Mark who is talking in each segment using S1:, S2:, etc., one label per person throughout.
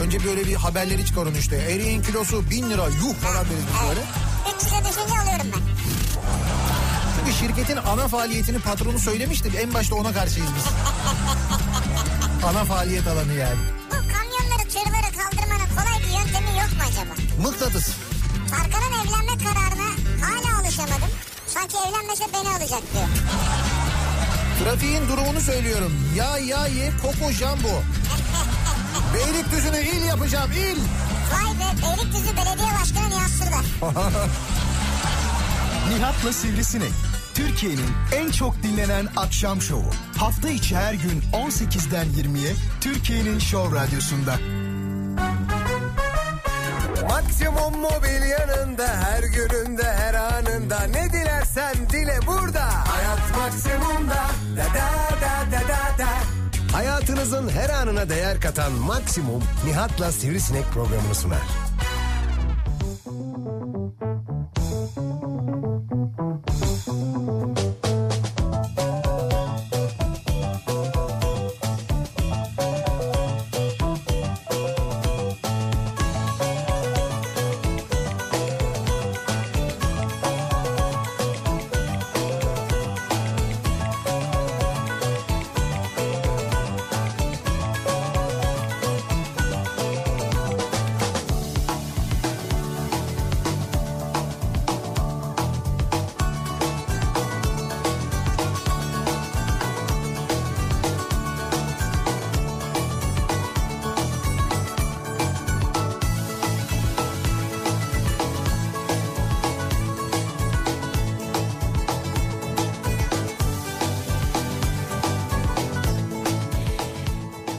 S1: Önce böyle bir haberleri çıkar onu işte. Eriğin kilosu bin lira yuh falan böyle bir böyle.
S2: 300'e düşünce alıyorum ben.
S1: Çünkü şirketin ana faaliyetini patronu söylemiştir. En başta ona karşıyız biz. ana faaliyet alanı yani.
S2: Bu kamyonları tırları kaldırmanın kolay bir yöntemi yok mu acaba?
S1: Mıknatıs.
S2: Tarkan'ın evlenme kararına hala alışamadım. Sanki evlenmese beni alacak diyor.
S1: Trafiğin durumunu söylüyorum. Ya ya ye koko jambo. Beylikdüzü'nü il yapacağım il.
S2: Vay be Beylikdüzü Belediye Başkanı Nihat Sırdar.
S3: Nihat'la Sivrisinek. Türkiye'nin en çok dinlenen akşam şovu. Hafta içi her gün 18'den 20'ye Türkiye'nin Show Radyosu'nda.
S4: Maksimum mobil yanında her gününde her anında ne dilersen dile burada. Hayat maksimumda da da da da da da. Hayatınızın her anına değer katan Maksimum Nihat'la Sivrisinek programını sunar.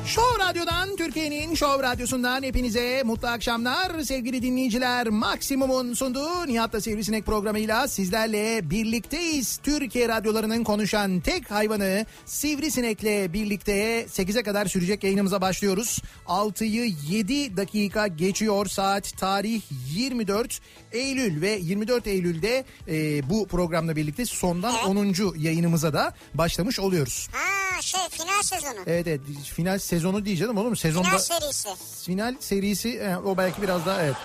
S1: Show Radyo'dan Türkiye'nin Show Radyosu'ndan hepinize mutlu akşamlar sevgili dinleyiciler. Maksimum'un sunduğu Nihat'la Sivrisinek programıyla sizlerle birlikteyiz. Türkiye radyolarının konuşan tek hayvanı Sivrisinek'le birlikte 8'e kadar sürecek yayınımıza başlıyoruz. 6'yı 7 dakika geçiyor saat tarih 24 Eylül ve 24 Eylül'de e, bu programla birlikte sondan 10. yayınımıza da başlamış oluyoruz.
S2: Ha şey final sezonu.
S1: Evet evet final sezonu diyeceğim oğlum sezonda
S2: Final
S1: final,
S2: serisi.
S1: serisi e, o belki biraz daha evet.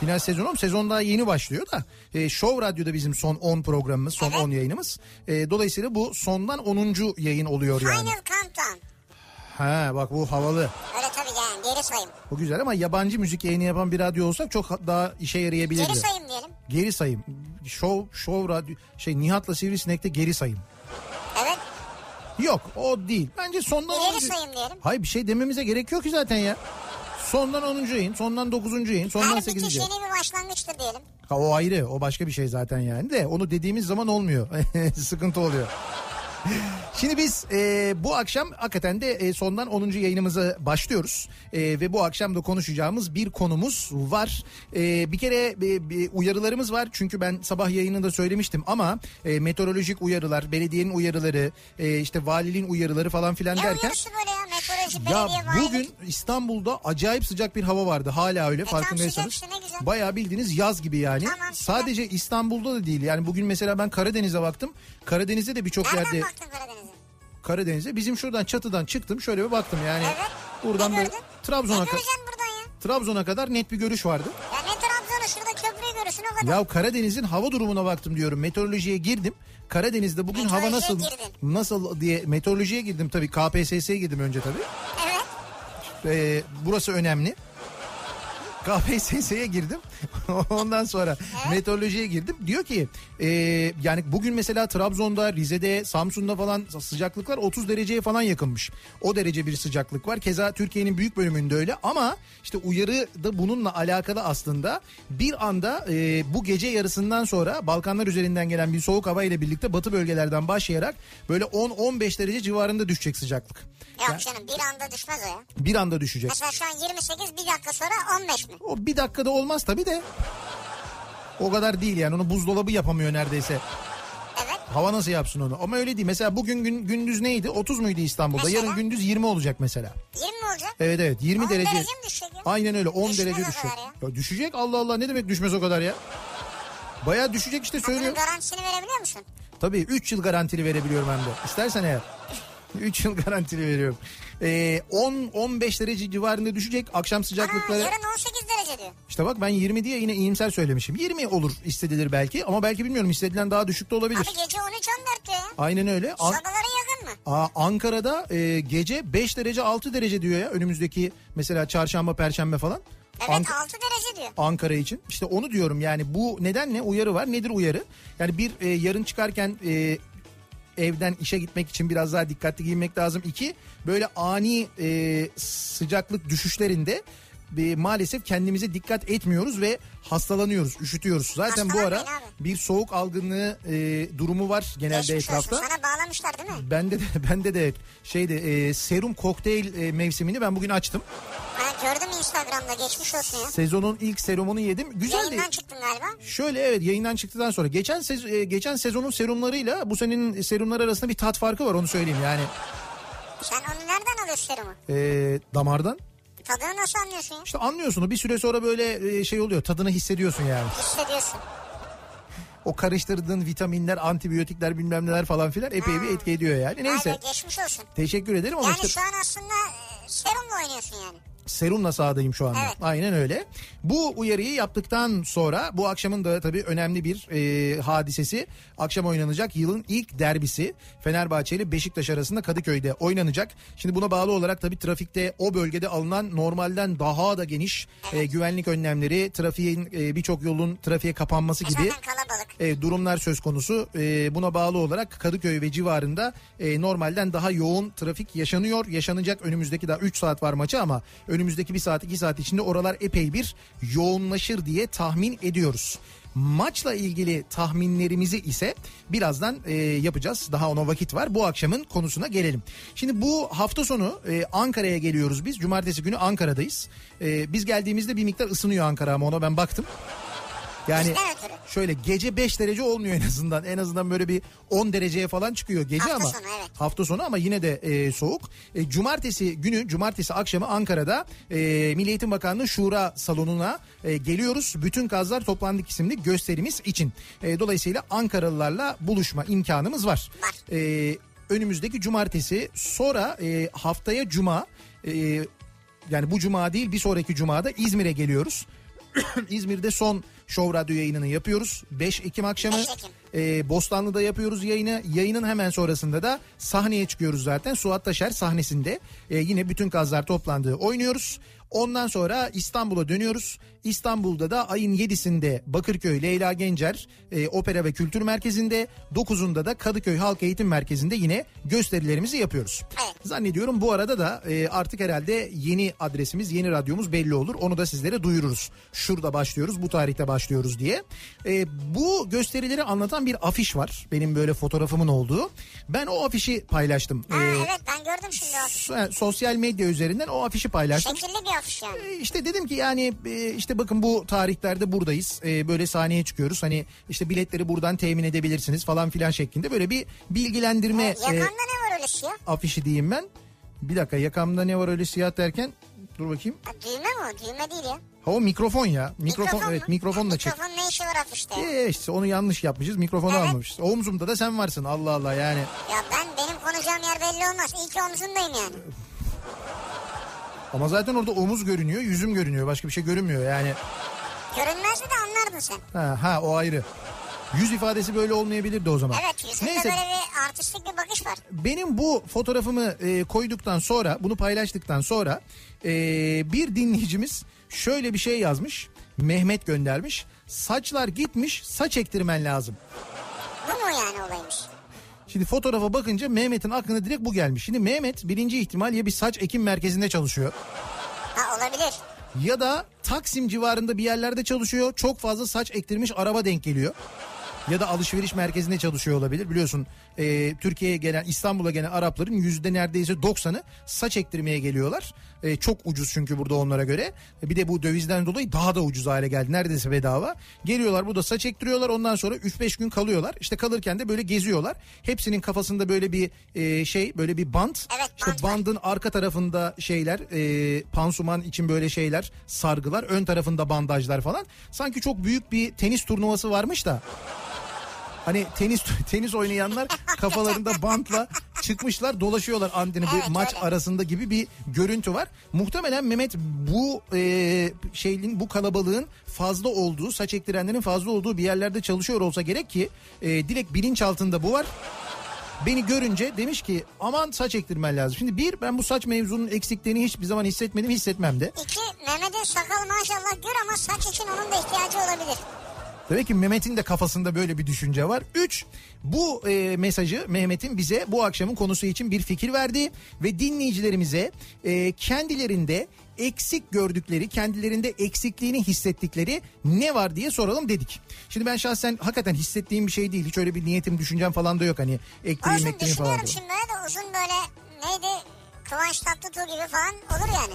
S1: Final sezonu ama sezon daha yeni başlıyor da. E, Show Radyo'da bizim son 10 programımız, son
S2: Evet.
S1: 10 yayınımız. E, dolayısıyla bu sondan 10. yayın oluyor yani.
S2: Final Countdown.
S1: Ha bak bu havalı.
S2: Öyle tabii yani geri sayım.
S1: Bu güzel ama yabancı müzik yayını yapan bir radyo olsak çok ha- daha işe yarayabilirdi.
S2: Geri sayım diyelim.
S1: Geri sayım. Show, show radyo şey Nihat'la Sivrisinek'te geri sayım.
S2: Evet.
S1: Yok o değil. Bence sondan
S2: İleri
S1: 10.
S2: sayım diyelim.
S1: Hayır bir şey dememize gerek yok ki zaten ya. Sondan 10. yayın, sondan 9. yayın, sondan
S2: Her bitiş
S1: 8. yayın.
S2: yeni bir başlangıçtır diyelim.
S1: Ha, o ayrı o başka bir şey zaten yani de onu dediğimiz zaman olmuyor. Sıkıntı oluyor. Şimdi biz e, bu akşam hakikaten de e, sondan 10. yayınımıza başlıyoruz. E, ve bu akşam da konuşacağımız bir konumuz var. E, bir kere e, bir uyarılarımız var. Çünkü ben sabah yayınında söylemiştim ama e, meteorolojik uyarılar, belediyenin uyarıları, e, işte valiliğin uyarıları falan filan
S2: Ne
S1: derken...
S2: uyarısı böyle ya meteoroloji
S1: Ya
S2: belediye valilik.
S1: bugün İstanbul'da acayip sıcak bir hava vardı. Hala öyle
S2: E, tam
S1: farkındaysanız.
S2: sıcak işte, ne güzel.
S1: Bayağı bildiğiniz yaz gibi yani.
S2: Tamam, süper.
S1: Sadece İstanbul'da da değil. Yani bugün mesela ben Karadeniz'e baktım. Karadeniz'de de birçok
S2: Nereden
S1: yerde
S2: baktın Karadeniz'e?
S1: Karadeniz'e bizim şuradan çatıdan çıktım. Şöyle bir baktım yani.
S2: Evet.
S1: Buradan
S2: Ne
S1: böyle
S2: gördün?
S1: Trabzon'a
S2: Ne
S1: kadar
S2: göreceksin buradan ya?
S1: Trabzon'a kadar net bir görüş vardı.
S2: Ya ne Trabzon'u şurada köprüyü görürsün o kadar.
S1: Ya Karadeniz'in hava durumuna baktım diyorum. Meteorolojiye girdim. Karadeniz'de bugün hava
S2: Meteorolojiye
S1: nasıl
S2: girdin.
S1: nasıl diye meteorolojiye girdim tabii. KPSS'ye girdim önce tabii.
S2: Evet.
S1: Ee, burası önemli. KPSS'ye girdim. Ondan sonra meteorolojiye girdim. Diyor ki e, yani bugün mesela Trabzon'da, Rize'de, Samsun'da falan sıcaklıklar 30 dereceye falan yakınmış. O derece bir sıcaklık var. Keza Türkiye'nin büyük bölümünde öyle ama işte uyarı da bununla alakalı aslında. Bir anda e, bu gece yarısından sonra Balkanlar üzerinden gelen bir soğuk hava ile birlikte batı bölgelerden başlayarak böyle 10-15 derece civarında düşecek sıcaklık.
S2: Yok canım bir anda düşmez o ya.
S1: Bir anda düşecek.
S2: Mesela şu an 28 bir dakika sonra 15 mi?
S1: O bir dakikada olmaz tabii de. O kadar değil yani onu buzdolabı yapamıyor neredeyse.
S2: Evet.
S1: Hava nasıl yapsın onu? Ama öyle değil. Mesela bugün gün, gündüz neydi? 30 muydu İstanbul'da?
S2: Mesela?
S1: Yarın gündüz 20 olacak mesela.
S2: 20 mi olacak?
S1: Evet evet 20
S2: 10
S1: derece.
S2: derece mi düşecek ya?
S1: Aynen öyle 10
S2: Düşmez
S1: derece
S2: o
S1: düşecek.
S2: kadar
S1: Ya düşecek Allah Allah ne demek düşmez o kadar ya? Baya düşecek işte
S2: Bunun
S1: söylüyorum.
S2: garantisini verebiliyor musun?
S1: Tabii 3 yıl garantili verebiliyorum hem de. İstersen eğer. 3 yıl garantili veriyorum. Ee, 10-15 derece civarında düşecek. Akşam
S2: Aa,
S1: sıcaklıkları...
S2: yarın 18 derece diyor.
S1: İşte bak ben 20 diye yine iyimser söylemişim. 20 olur istedilir belki ama belki bilmiyorum istedilen daha düşük de olabilir.
S2: Abi gece 13-14 diyor ya.
S1: Aynen öyle. An-
S2: Sabahlara yakın mı?
S1: Aa, Ankara'da e, gece 5 derece 6 derece diyor ya önümüzdeki mesela çarşamba perşembe falan.
S2: Evet
S1: Ank-
S2: 6 derece diyor.
S1: Ankara için. İşte onu diyorum yani bu nedenle uyarı var. Nedir uyarı? Yani bir e, yarın çıkarken e, evden işe gitmek için biraz daha dikkatli giyinmek lazım. İki böyle ani e, sıcaklık düşüşlerinde e, maalesef kendimize dikkat etmiyoruz ve hastalanıyoruz, üşütüyoruz. Zaten bu ara
S2: Hastalanmayın abi.
S1: bir soğuk algınlığı e, durumu var genelde
S2: Geçmiş olsun.
S1: etrafta.
S2: Sana bağlamışlar değil mi?
S1: Bende de bende de şeyde e, serum kokteyl e, mevsimini ben bugün açtım.
S2: Ha, gördüm Instagram'da geçmiş olsun ya.
S1: Sezonun ilk serumunu yedim. Güzeldi.
S2: Yayından çıktın galiba.
S1: Şöyle evet yayından çıktıktan sonra geçen sez- e, geçen sezonun serumlarıyla bu senenin serumları arasında bir tat farkı var onu söyleyeyim yani
S2: Sen onu nereden alıyorsun serumu?
S1: e, damardan.
S2: Tadını nasıl anlıyorsun ya?
S1: İşte anlıyorsun bir süre sonra böyle e, şey oluyor tadını hissediyorsun yani.
S2: Hissediyorsun.
S1: O karıştırdığın vitaminler, antibiyotikler bilmem neler falan filan epey bir etki ediyor yani.
S2: Neyse.
S1: Neyse
S2: Abi geçmiş olsun.
S1: teşekkür ederim ama
S2: Yani
S1: işte
S2: şu an aslında e, serumla oynuyorsun yani.
S1: serumla sahadayım şu anda.
S2: Evet.
S1: Aynen öyle. Bu uyarıyı yaptıktan sonra bu akşamın da tabii önemli bir e, hadisesi. Akşam oynanacak yılın ilk derbisi Fenerbahçe ile Beşiktaş arasında Kadıköy'de oynanacak. Şimdi buna bağlı olarak tabii trafikte o bölgede alınan normalden daha da geniş e, güvenlik önlemleri, trafiğin e, birçok yolun trafiğe kapanması
S2: E
S1: gibi
S2: Zaten kalabalık.
S1: e, durumlar söz konusu. E, buna bağlı olarak Kadıköy ve civarında e, normalden daha yoğun trafik yaşanıyor. Yaşanacak önümüzdeki daha 3 saat var maçı ama önümüzdeki 1 saat 2 saat içinde oralar epey bir yoğunlaşır diye tahmin ediyoruz. Maçla ilgili tahminlerimizi ise birazdan e, yapacağız. Daha ona vakit var. Bu akşamın konusuna gelelim. Şimdi bu hafta sonu e, Ankara'ya geliyoruz biz. Cumartesi günü Ankara'dayız. E, biz geldiğimizde bir miktar ısınıyor Ankara ama ona ben baktım. Yani
S2: Bizden ötürü.
S1: şöyle gece 5 derece olmuyor en azından. En azından böyle bir 10 dereceye falan çıkıyor gece
S2: Hafta
S1: ama.
S2: sonu, evet.
S1: Hafta sonu ama yine de e, soğuk. E, cumartesi günü, cumartesi akşamı Ankara'da e, Milli Eğitim Bakanlığı Şura Salonu'na e, geliyoruz. Bütün kazlar toplandık isimli gösterimiz için. E, dolayısıyla Ankaralılarla buluşma imkanımız var.
S2: Var.
S1: E, önümüzdeki cumartesi sonra e, haftaya cuma... E, yani bu cuma değil bir sonraki cumada İzmir'e geliyoruz. İzmir'de son Show Radyo yayınını yapıyoruz. 5 Ekim akşamı
S2: 5 Ekim.
S1: e, Bostanlı'da yapıyoruz yayını. Yayının hemen sonrasında da sahneye çıkıyoruz zaten. Suat Taşer sahnesinde e, yine bütün kazlar toplandığı oynuyoruz. Ondan sonra İstanbul'a dönüyoruz. İstanbul'da da ayın 7'sinde Bakırköy Leyla Gencer e, Opera ve Kültür Merkezi'nde 9'unda da Kadıköy Halk Eğitim Merkezi'nde yine gösterilerimizi yapıyoruz.
S2: Evet.
S1: Zannediyorum bu arada da e, artık herhalde yeni adresimiz, yeni radyomuz belli olur. Onu da sizlere duyururuz. Şurada başlıyoruz, bu tarihte başlıyoruz diye. E, bu gösterileri anlatan bir afiş var. Benim böyle fotoğrafımın olduğu. Ben o afişi paylaştım.
S2: Ha,
S1: E,
S2: evet ben gördüm şimdi o.
S1: so- sosyal medya üzerinden o afişi paylaştım.
S2: Şekilli bir afiş yani.
S1: E, İşte dedim ki yani e, işte bakın bu tarihlerde buradayız. E, Böyle sahneye çıkıyoruz. Hani işte biletleri buradan temin edebilirsiniz falan filan şeklinde böyle bir bilgilendirme
S2: Yakanda
S1: e,
S2: ne var öyle şey siyah?
S1: afişi diyeyim ben. Bir dakika yakamda ne var öyle siyah derken dur bakayım.
S2: Ha, düğme mi o? Düğme değil ya.
S1: Ha o mikrofon ya. Mikrofon, evet
S2: mu?
S1: mikrofonla
S2: Ha,
S1: çek.
S2: Mikrofon ne işi var afişte? ya?
S1: Ee, işte onu yanlış yapmışız. Mikrofonu
S2: Evet.
S1: almamışız. Omzumda da sen varsın. Allah Allah yani.
S2: Ya ben benim konuşacağım yer belli olmaz. İyi ki omzundayım yani.
S1: Ama zaten orada omuz görünüyor, yüzüm görünüyor. Başka bir şey görünmüyor yani.
S2: Görünmezdi de anlardın sen.
S1: Ha, ha o ayrı. Yüz ifadesi böyle olmayabilirdi o zaman.
S2: Evet yüzünde
S1: Neyse
S2: böyle bir artistik bir bakış var.
S1: benim bu fotoğrafımı e, koyduktan sonra bunu paylaştıktan sonra e, bir dinleyicimiz şöyle bir şey yazmış. Mehmet göndermiş. Saçlar gitmiş saç ektirmen lazım.
S2: Bu mu yani olaymış?
S1: Şimdi fotoğrafa bakınca Mehmet'in aklına direkt bu gelmiş. Şimdi Mehmet birinci ihtimal ya bir saç ekim merkezinde çalışıyor
S2: Ha olabilir.
S1: ya da Taksim civarında bir yerlerde çalışıyor. Çok fazla saç ektirmiş araba denk geliyor. Ya da alışveriş merkezinde çalışıyor olabilir. Biliyorsun e, Türkiye'ye gelen İstanbul'a gelen Arapların yüzde neredeyse 90'ı saç ektirmeye geliyorlar. E, çok ucuz çünkü burada onlara göre. E, bir de bu dövizden dolayı daha da ucuz hale geldi. Neredeyse bedava. Geliyorlar burada saç ektiriyorlar. Ondan sonra 3-5 gün kalıyorlar. İşte kalırken de böyle geziyorlar. Hepsinin kafasında böyle bir e, şey böyle bir bant.
S2: Evet,
S1: işte
S2: bant var.
S1: bant bandın arka tarafında şeyler e, pansuman için böyle şeyler sargılar ön tarafında bandajlar falan sanki çok büyük bir tenis turnuvası varmış da hani tenis tenis oynayanlar kafalarında bantla çıkmışlar dolaşıyorlar Andi'nin
S2: Evet,
S1: bu maç
S2: öyle.
S1: arasında gibi bir görüntü var. Muhtemelen Mehmet bu e, şeyin bu kalabalığın fazla olduğu saç ektirenlerin fazla olduğu bir yerlerde çalışıyor olsa gerek ki e, direkt bilinç altında bu var. Beni görünce demiş ki aman saç ektirmen lazım. Şimdi bir ben bu saç mevzunun eksikliğini hiçbir zaman hissetmedim hissetmem de.
S2: İki Mehmet'in sakal maşallah gür ama saç için onun da ihtiyacı olabilir.
S1: Demek ki Mehmet'in de kafasında böyle bir düşünce var. 3. Bu e, mesajı Mehmet'in bize bu akşamın konusu için bir fikir verdi ve dinleyicilerimize e, kendilerinde eksik gördükleri, kendilerinde eksikliğini hissettikleri ne var diye soralım dedik. Şimdi ben şahsen hakikaten hissettiğim bir şey değil. Hiç öyle bir niyetim, düşüncem falan da yok hani ekleyeyim,
S2: Olsun
S1: ekleyeyim falan.
S2: düşünüyorum
S1: diye.
S2: şimdi böyle de uzun böyle neydi Kıvanç Tatlıtuğ gibi falan olur yani.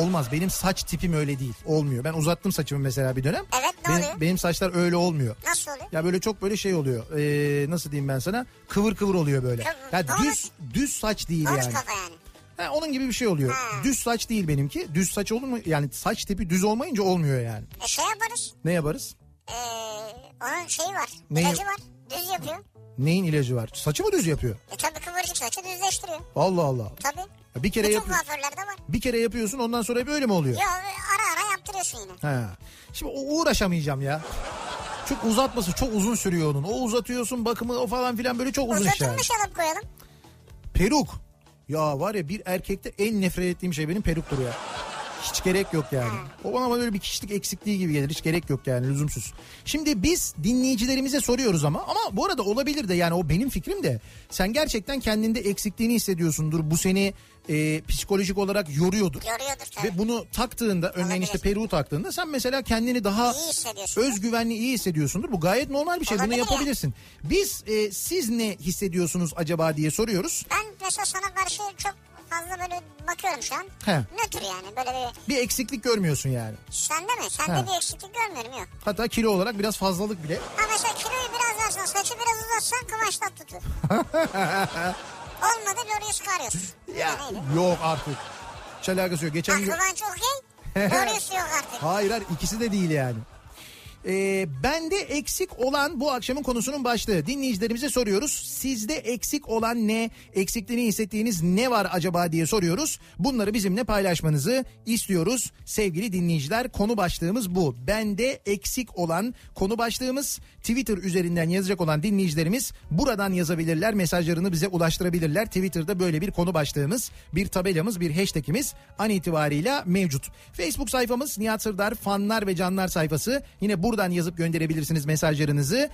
S1: Olmaz. Benim saç tipim öyle değil. Olmuyor. Ben uzattım saçımı mesela bir dönem.
S2: Evet, ne
S1: benim,
S2: oluyor?
S1: benim saçlar öyle olmuyor.
S2: Nasıl oluyor?
S1: Ya böyle çok böyle şey oluyor. Ee, nasıl diyeyim ben sana? Kıvır kıvır oluyor böyle.
S2: Kıvır.
S1: Ya
S2: Doğru.
S1: düz düz saç değil
S2: Doğru
S1: yani.
S2: kafa yani.
S1: Ha, onun gibi bir şey oluyor.
S2: Ha.
S1: Düz saç değil benimki. Düz saç olur mu? Yani saç tipi düz olmayınca olmuyor yani.
S2: E şey yaparız.
S1: Ne yaparız?
S2: Ee, onun şeyi var.
S1: Neyi?
S2: ilacı var. Düz yapıyor.
S1: Neyin ilacı var? Saçı mı düz yapıyor?
S2: E tabii kıvırcık saçı düzleştiriyor.
S1: Allah Allah.
S2: Tabii.
S1: Ya bir kere
S2: Bütün
S1: yapıyor.
S2: kuaförlerde var.
S1: Bir kere yapıyorsun ondan sonra hep öyle mi oluyor?
S2: Yo ara ara yaptırıyorsun yine.
S1: Ha. Şimdi o- uğraşamayacağım ya. Çok uzatması çok uzun sürüyor onun. O uzatıyorsun bakımı o falan filan böyle çok uzun iş yani.
S2: Uzatılmış alıp koyalım.
S1: Peruk. Ya var ya bir erkekte en nefret ettiğim şey benim peruktur ya. Hiç gerek yok yani. O bana böyle bir kişilik eksikliği gibi gelir. Hiç gerek yok yani lüzumsuz. Şimdi biz dinleyicilerimize soruyoruz ama ama bu arada olabilir de yani o benim fikrim de. Sen gerçekten kendinde eksikliğini hissediyorsundur. Bu seni e, psikolojik olarak yoruyordur.
S2: Yoruyordur tabii.
S1: Ve bunu taktığında örneğin
S2: Olabilir.
S1: işte peruğu taktığında sen mesela kendini daha
S2: İyi hissediyorsundur.
S1: özgüvenli iyi hissediyorsundur. Bu gayet normal bir şey. Bunu
S2: Olabilir ya.
S1: yapabilirsin. Biz e, siz ne hissediyorsunuz acaba diye soruyoruz.
S2: Ben mesela sana karşı çok fazla böyle bakıyorum şu an.
S1: He.
S2: Nötr yani böyle bir
S1: Bir eksiklik görmüyorsun yani.
S2: sende mi? Sende
S1: He.
S2: bir eksiklik görmüyorum yok.
S1: Hatta kilo olarak biraz fazlalık bile.
S2: Ha mesela kiloyu biraz versen saçı biraz uzatsan Kıvanç Tatlıtuğ. Olmadı doğruyu çıkarıyorsun.
S1: Ya
S2: Yani öyle.
S1: yok artık. Hiç alakası yok. Geçen gün...
S2: Ha Kıvanç okey. Doğruyu yok artık.
S1: Hayır hayır ikisi de değil yani. Ee, bende eksik olan bu akşamın konusunun başlığı. Dinleyicilerimize soruyoruz. Sizde eksik olan ne? Eksikliğini hissettiğiniz ne var acaba diye soruyoruz. Bunları bizimle paylaşmanızı istiyoruz. Sevgili dinleyiciler konu başlığımız bu. Bende eksik olan konu başlığımız Twitter üzerinden yazacak olan dinleyicilerimiz buradan yazabilirler. Mesajlarını bize ulaştırabilirler. Twitter'da böyle bir konu başlığımız, bir tabelamız, bir hashtagimiz an itibariyle mevcut. Facebook sayfamız Nihat Sırdar fanlar ve canlar sayfası. Yine buradan yazıp gönderebilirsiniz mesajlarınızı.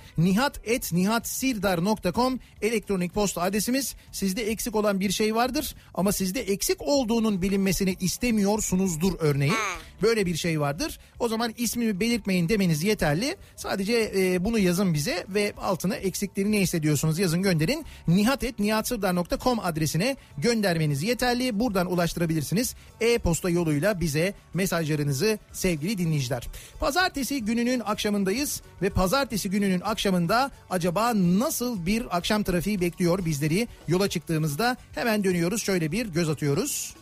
S1: nihat.nihatsirdar.com elektronik posta adresimiz. Sizde eksik olan bir şey vardır ama sizde eksik olduğunun bilinmesini istemiyorsunuzdur örneğin. Böyle bir şey vardır. O zaman ismimi belirtmeyin demeniz yeterli. Sadece e, bunu yazın bize ve altına eksikleri ne hissediyorsunuz yazın gönderin. nihatetnihatsırdar.com adresine göndermeniz yeterli. Buradan ulaştırabilirsiniz. E-posta yoluyla bize mesajlarınızı sevgili dinleyiciler. Pazartesi gününün akşamındayız ve pazartesi gününün akşamında acaba nasıl bir akşam trafiği bekliyor bizleri? Yola çıktığımızda hemen dönüyoruz. Şöyle bir göz atıyoruz.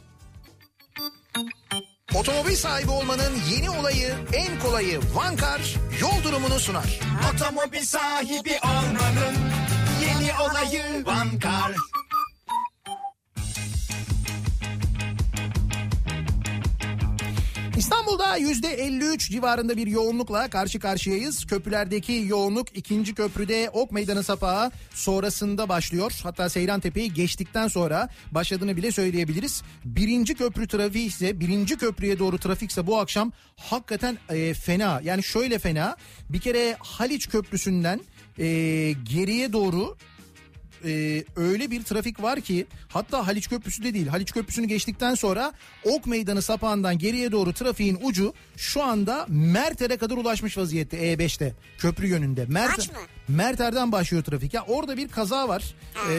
S1: Otomobil sahibi olmanın yeni olayı, en kolayı Vankar yol durumunu sunar.
S5: Otomobil sahibi olmanın yeni olayı Vankar.
S1: İstanbul'da %53 civarında bir yoğunlukla karşı karşıyayız. Köprülerdeki yoğunluk ikinci köprüde Ok Meydanı sapağı sonrasında başlıyor. Hatta Seyran Tepe'yi geçtikten sonra başladığını bile söyleyebiliriz. Birinci köprü trafiği ise birinci köprüye doğru trafikse bu akşam hakikaten e, fena. Yani şöyle fena bir kere Haliç Köprüsü'nden e, geriye doğru e, öyle bir trafik var ki hatta Haliç Köprüsü de değil. Haliç Köprüsü'nü geçtikten sonra Ok Meydanı sapağından geriye doğru trafiğin ucu şu anda Merter'e kadar ulaşmış vaziyette E5'te köprü yönünde. Mert,
S2: Kaç mı?
S1: Merter'den başlıyor trafik. Ya orada bir kaza var. E,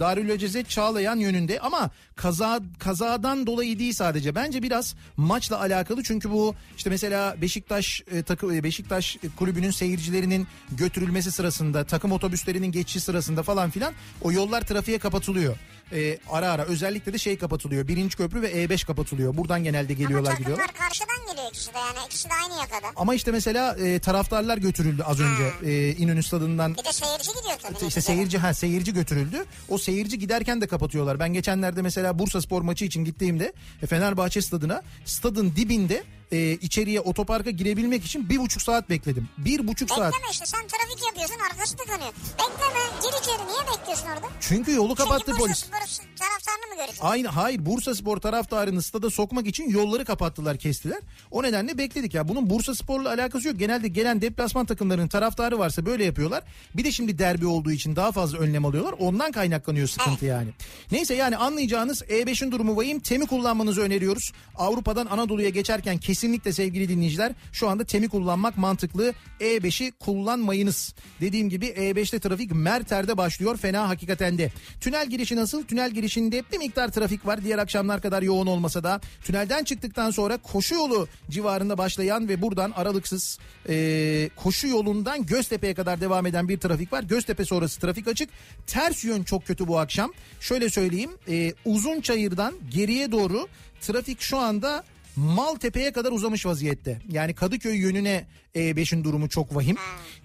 S1: Darülaceze Çağlayan yönünde ama kaza kazadan dolayı değil sadece. Bence biraz maçla alakalı çünkü bu işte mesela Beşiktaş e, takı- e, Beşiktaş kulübünün seyircilerinin götürülmesi sırasında takım otobüslerinin geçişi sırasında arasında falan filan o yollar trafiğe kapatılıyor. E, ara ara özellikle de şey kapatılıyor. Birinci köprü ve E5 kapatılıyor. Buradan genelde geliyorlar
S2: Ama
S1: gidiyorlar.
S2: takımlar karşıdan geliyor ikisi de yani ikisi de aynı yakada.
S1: Ama işte mesela e, taraftarlar götürüldü az önce e, İnönü Stadı'ndan
S2: Bir de seyirci gidiyor tabii.
S1: işte
S2: neticede.
S1: seyirci ha seyirci götürüldü. O seyirci giderken de kapatıyorlar. Ben geçenlerde mesela Bursa Spor maçı için gittiğimde e, Fenerbahçe stadına stadın dibinde e, içeriye otoparka girebilmek için bir buçuk saat bekledim. Bir buçuk saat.
S2: Bekleme işte sen trafik yapıyorsun arkası tıkanıyor. Bekleme gir içeri niye bekliyorsun orada?
S1: Çünkü yolu kapattı
S2: Çünkü
S1: polis.
S2: Bursa Spor'un taraftarını mı göreceksin?
S1: Aynı hayır Bursa Spor taraftarını stada sokmak için yolları kapattılar kestiler. O nedenle bekledik ya. Bunun Bursa Spor'la alakası yok. Genelde gelen deplasman takımlarının taraftarı varsa böyle yapıyorlar. Bir de şimdi derbi olduğu için daha fazla önlem alıyorlar. Ondan kaynaklanıyor sıkıntı yani. Neyse yani anlayacağınız E5'in durumu vahim. Temi kullanmanızı öneriyoruz. Avrupa'dan Anadolu'ya geçerken kesinlikle sevgili dinleyiciler şu anda temi kullanmak mantıklı. E5'i kullanmayınız. Dediğim gibi E5'te trafik Merter'de başlıyor. Fena hakikaten de. Tünel girişi nasıl? Tünel girişinde bir miktar trafik var. Diğer akşamlar kadar yoğun olmasa da tünelden çıktıktan sonra koşu yolu civarında başlayan ve buradan aralıksız e, koşu yolundan Göztepe'ye kadar devam eden bir trafik var. Göztepe sonrası trafik açık. Ters yön çok kötü bu akşam. Şöyle söyleyeyim. E, uzun çayırdan geriye doğru trafik şu anda Maltepe'ye kadar uzamış vaziyette. Yani Kadıköy yönüne E5'in durumu çok vahim.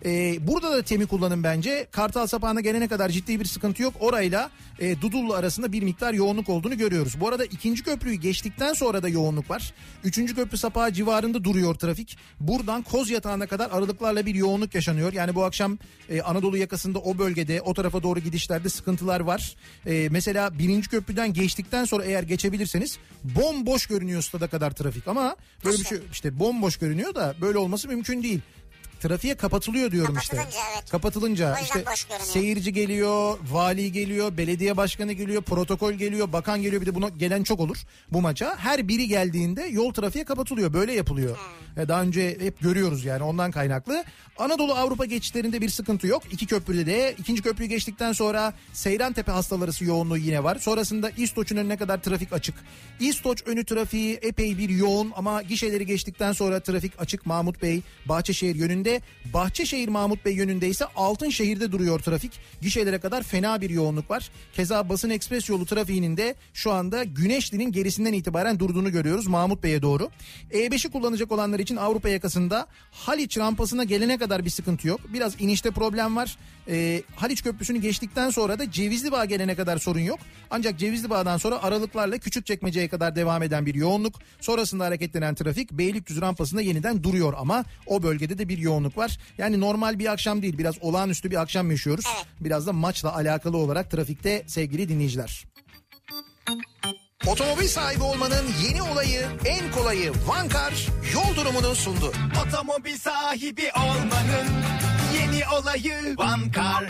S1: E, burada da temi kullanın bence. Kartal Sapağı'na gelene kadar ciddi bir sıkıntı yok. Orayla e, Dudullu arasında bir miktar yoğunluk olduğunu görüyoruz. Bu arada ikinci köprüyü geçtikten sonra da yoğunluk var. Üçüncü köprü Sapağı civarında duruyor trafik. Buradan Koz Yatağı'na kadar aralıklarla bir yoğunluk yaşanıyor. Yani bu akşam e, Anadolu yakasında o bölgede o tarafa doğru gidişlerde sıkıntılar var. E, mesela birinci köprüden geçtikten sonra eğer geçebilirseniz bomboş görünüyor stada kadar trafik ama böyle bir şey işte bomboş görünüyor da böyle olması mümkün değil. Trafiğe kapatılıyor diyorum işte.
S2: Kapatılınca evet.
S1: Kapatılınca
S2: O yüzden
S1: işte
S2: boş görünüyor.
S1: seyirci geliyor, vali geliyor, belediye başkanı geliyor, protokol geliyor, bakan geliyor bir de buna gelen çok olur bu maça. Her biri geldiğinde yol trafiğe kapatılıyor. Böyle yapılıyor. E, Daha önce hep görüyoruz yani ondan kaynaklı. Anadolu Avrupa geçişlerinde bir sıkıntı yok. İki köprüde de ikinci köprüyü geçtikten sonra Seyrantepe hastalar arası yoğunluğu yine var. Sonrasında İstoç'un önüne kadar trafik açık. İstoç önü trafiği epey bir yoğun ama gişeleri geçtikten sonra trafik açık Mahmut Bey Bahçeşehir yönünde. Bahçeşehir Mahmut Bey yönünde ise Altınşehir'de duruyor trafik. Gişelere kadar fena bir yoğunluk var. Keza basın ekspres yolu trafiğinin de şu anda Güneşli'nin gerisinden itibaren durduğunu görüyoruz Mahmut Bey'e doğru. E5'i kullanacak olanlar için Avrupa yakasında Haliç rampasına gelene kadar bir sıkıntı yok. Biraz inişte problem var. Ee, Haliç Köprüsü'nü geçtikten sonra da Cevizli Bağ gelene kadar sorun yok. Ancak Cevizli Bağ'dan sonra aralıklarla Küçükçekmece'ye kadar devam eden bir yoğunluk. Sonrasında hareketlenen trafik Beylikdüzü rampasında yeniden duruyor ama o bölgede de bir yoğunluk var. Yani normal bir akşam değil biraz olağanüstü bir akşam yaşıyoruz. Biraz da maçla alakalı olarak trafikte sevgili dinleyiciler. Otomobil sahibi olmanın yeni olayı, en kolayı Vankar yol durumunu sundu.
S5: Otomobil sahibi olmanın yeni olayı Vankar.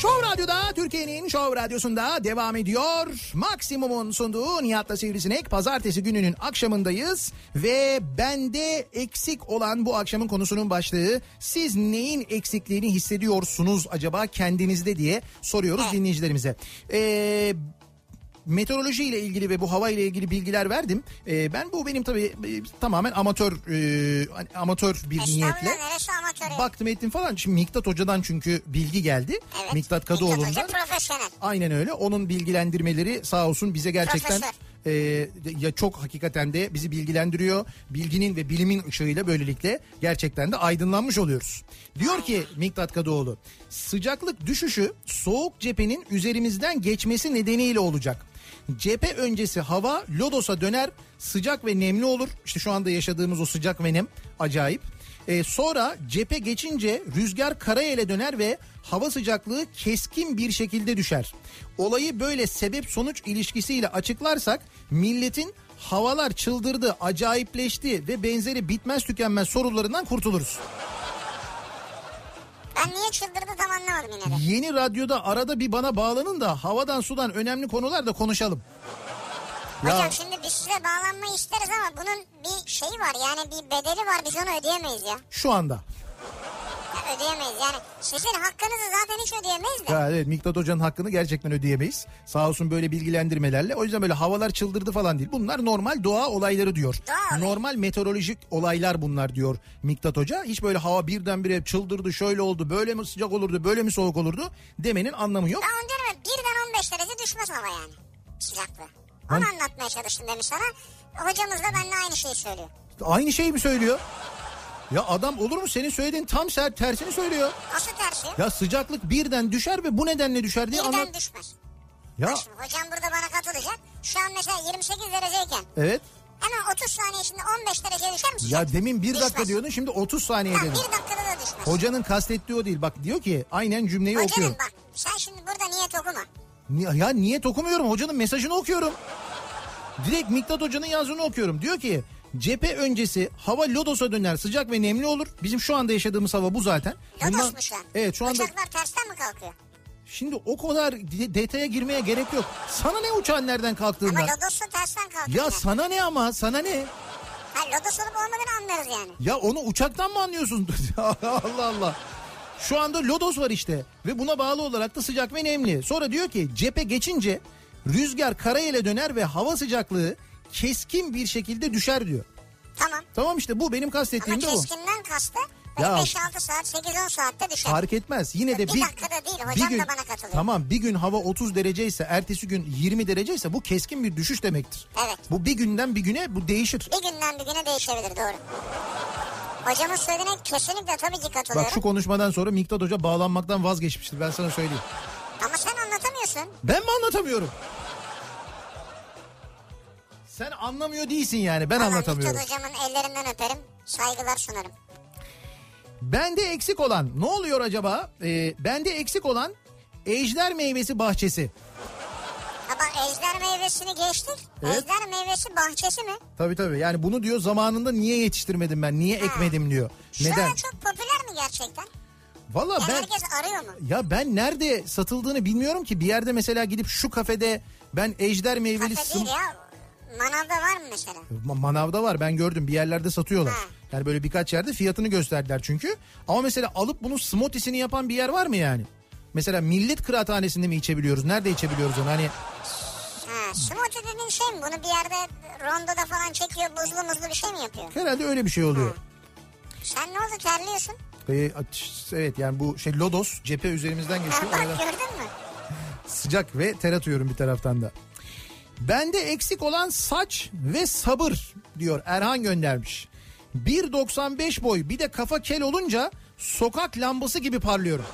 S1: Şov Radyo'da Türkiye'nin Şov Radyosu'nda devam ediyor. Maksimum'un sunduğu Nihat'la Sivrisinek pazartesi gününün akşamındayız. Ve bende eksik olan bu akşamın konusunun başlığı siz neyin eksikliğini hissediyorsunuz acaba kendinizde diye soruyoruz dinleyicilerimize. Ee, meteoroloji ile ilgili ve bu hava ile ilgili bilgiler verdim. Ee, ben bu benim tabii e, tamamen amatör e, hani amatör bir niyetle.
S2: Estağfurullah neresi amatör ya?
S1: Baktım ettim falan. Şimdi Miktat Hoca'dan çünkü bilgi geldi.
S2: Evet.
S1: Miktat
S2: Hoca
S1: Kadıoğlu'ndan.
S2: profesyonel.
S1: Aynen öyle. Onun bilgilendirmeleri sağ olsun bize gerçekten e, ya çok hakikaten de bizi bilgilendiriyor. Bilginin ve bilimin ışığıyla böylelikle gerçekten de aydınlanmış oluyoruz. Diyor ki Miktat Kadıoğlu sıcaklık düşüşü soğuk cephenin üzerimizden geçmesi nedeniyle olacak. Cephe öncesi hava lodosa döner sıcak ve nemli olur. İşte şu anda yaşadığımız o sıcak ve nem acayip. Ee, sonra cephe geçince rüzgar karayele döner ve hava sıcaklığı keskin bir şekilde düşer. Olayı böyle sebep sonuç ilişkisiyle açıklarsak milletin havalar çıldırdı, acayipleşti ve benzeri bitmez tükenmez sorularından kurtuluruz.
S2: Ben niye çıldırdı tam anlamadım yine de.
S1: Yeni radyoda arada bir bana bağlanın da havadan sudan önemli konular da konuşalım.
S2: Hocam şimdi biz size bağlanmayı isteriz ama bunun bir şeyi var yani bir bedeli var biz onu ödeyemeyiz ya.
S1: Şu anda.
S2: Ya ödeyemeyiz. Yani sizin hakkınızı zaten hiç ödeyemeyiz de.
S1: Ya evet Miktat Hoca'nın hakkını gerçekten ödeyemeyiz. Sağ olsun böyle bilgilendirmelerle. O yüzden böyle havalar çıldırdı falan değil. Bunlar normal doğa olayları diyor.
S2: Doğa olayı.
S1: Normal meteorolojik olaylar bunlar diyor Miktat Hoca. Hiç böyle hava birdenbire çıldırdı şöyle oldu böyle mi sıcak olurdu böyle mi soğuk olurdu demenin anlamı yok.
S2: Daha önce mi? Birden 15 derece düşmez hava yani. Sıcaklığı. Onu anlatmaya çalıştım demiş sana. Hocamız da benimle aynı şeyi söylüyor.
S1: Aynı şeyi mi söylüyor? Ya adam olur mu senin söylediğin tam ser- tersini söylüyor.
S2: Asıl tersi.
S1: Ya sıcaklık birden düşer ve bu nedenle düşer diye
S2: birden
S1: anlat.
S2: düşmez.
S1: Ya
S2: Bak şimdi hocam burada bana katılacak. Şu an mesela 28 dereceyken
S1: evet.
S2: hemen 30 saniye içinde 15 derece düşer mi sıcak?
S1: Ya demin bir dakika
S2: Düşmez.
S1: diyordun şimdi 30 saniye
S2: Ha,
S1: dedin.
S2: bir dakikada da düşmez.
S1: Hocanın kastettiği o değil. Bak diyor ki aynen cümleyi
S2: Hocanın
S1: okuyorum.
S2: bak sen şimdi burada niyet okuma.
S1: Ni- Ya niyet okumuyorum hocanın mesajını okuyorum. Direkt Miktat Hoca'nın yazdığını okuyorum. Diyor ki cephe öncesi hava lodosa döner sıcak ve nemli olur. Bizim şu anda yaşadığımız hava bu zaten. Bundan-
S2: Lodosmuş yani.
S1: Evet şu anda
S2: Uçaklar tersten mi kalkıyor?
S1: şimdi o kadar de- detaya girmeye gerek yok. Sana ne uçağın nereden
S2: Ama
S1: kalktığından?
S2: Lodos'ta tersten kalkıyor.
S1: Ya
S2: yani.
S1: sana ne ama sana ne?
S2: Ha, Lodos olup olmadığını anlarız yani.
S1: Ya onu uçaktan mı anlıyorsun? Allah Allah. Şu anda lodos var işte ve buna bağlı olarak da sıcak ve nemli. Sonra diyor ki cephe geçince rüzgar karayele döner ve hava sıcaklığı keskin bir şekilde düşer diyor.
S2: Tamam.
S1: Tamam işte bu benim
S2: Ama
S1: kastettiğim de o.
S2: keskinden kastı
S1: Ya.
S2: 5-6 saat 8-10 saatte düşer.
S1: Fark etmez. Yine de
S2: Bir
S1: bir,
S2: dakikada değil, hocam da bana katılıyor.
S1: Tamam bir gün hava 30 dereceyse ertesi gün 20 dereceyse bu keskin bir düşüş demektir.
S2: Evet.
S1: Bu bir günden bir güne bu değişir.
S2: Bir günden bir güne değişebilir doğru. Hocamın söylediğine kesinlikle tabii ki katılıyorum.
S1: Bak şu konuşmadan sonra Miktat Hoca bağlanmaktan vazgeçmiştir ben sana söyleyeyim.
S2: Ama sen anlatamıyorsun.
S1: Ben mi anlatamıyorum? Sen anlamıyor değilsin yani ben
S2: Vallahi
S1: anlatamıyorum.
S2: Mithat hocamın ellerinden öperim. Saygılar sunarım.
S1: Bende eksik olan ne oluyor acaba? Ee, bende eksik olan ejder meyvesi bahçesi.
S2: Ha bak ejder meyvesini geçtik.
S1: Evet.
S2: Ejder meyvesi bahçesi mi?
S1: Tabii tabii yani bunu diyor zamanında niye yetiştirmedim ben niye ekmedim diyor.
S2: Şu
S1: Neden?
S2: an çok popüler mi gerçekten?
S1: Valla
S2: Yani
S1: ben
S2: herkes arıyor mu?
S1: ya ben nerede satıldığını bilmiyorum ki bir yerde mesela gidip şu kafede ben ejder meyveli
S2: Kafe değil
S1: sım-
S2: ya. Manavda var mı mesela?
S1: Ma- Manavda var ben gördüm bir yerlerde satıyorlar.
S2: Ha.
S1: Yani böyle birkaç yerde fiyatını gösterdiler çünkü. Ama mesela alıp bunun smoothiesini yapan bir yer var mı yani? Mesela millet kıraathanesinde mi içebiliyoruz? Nerede içebiliyoruz onu? Hani
S2: Ha, smoothie dediğin şey mi? Bunu bir yerde rondoda falan çekiyor buzlu muzlu bir şey mi yapıyor?
S1: herhalde öyle bir şey oluyor.
S2: Sen ne oldu terliyorsun?
S1: Ee, at- evet yani bu şey lodos cephe üzerimizden
S2: Ha,
S1: geçiyor.
S2: bak
S1: Arada
S2: gördün mü?
S1: sıcak ve ter atıyorum bir taraftan da. Bende eksik olan saç ve sabır diyor Erhan göndermiş. 1.95 boy bir de kafa kel olunca sokak lambası gibi parlıyorum.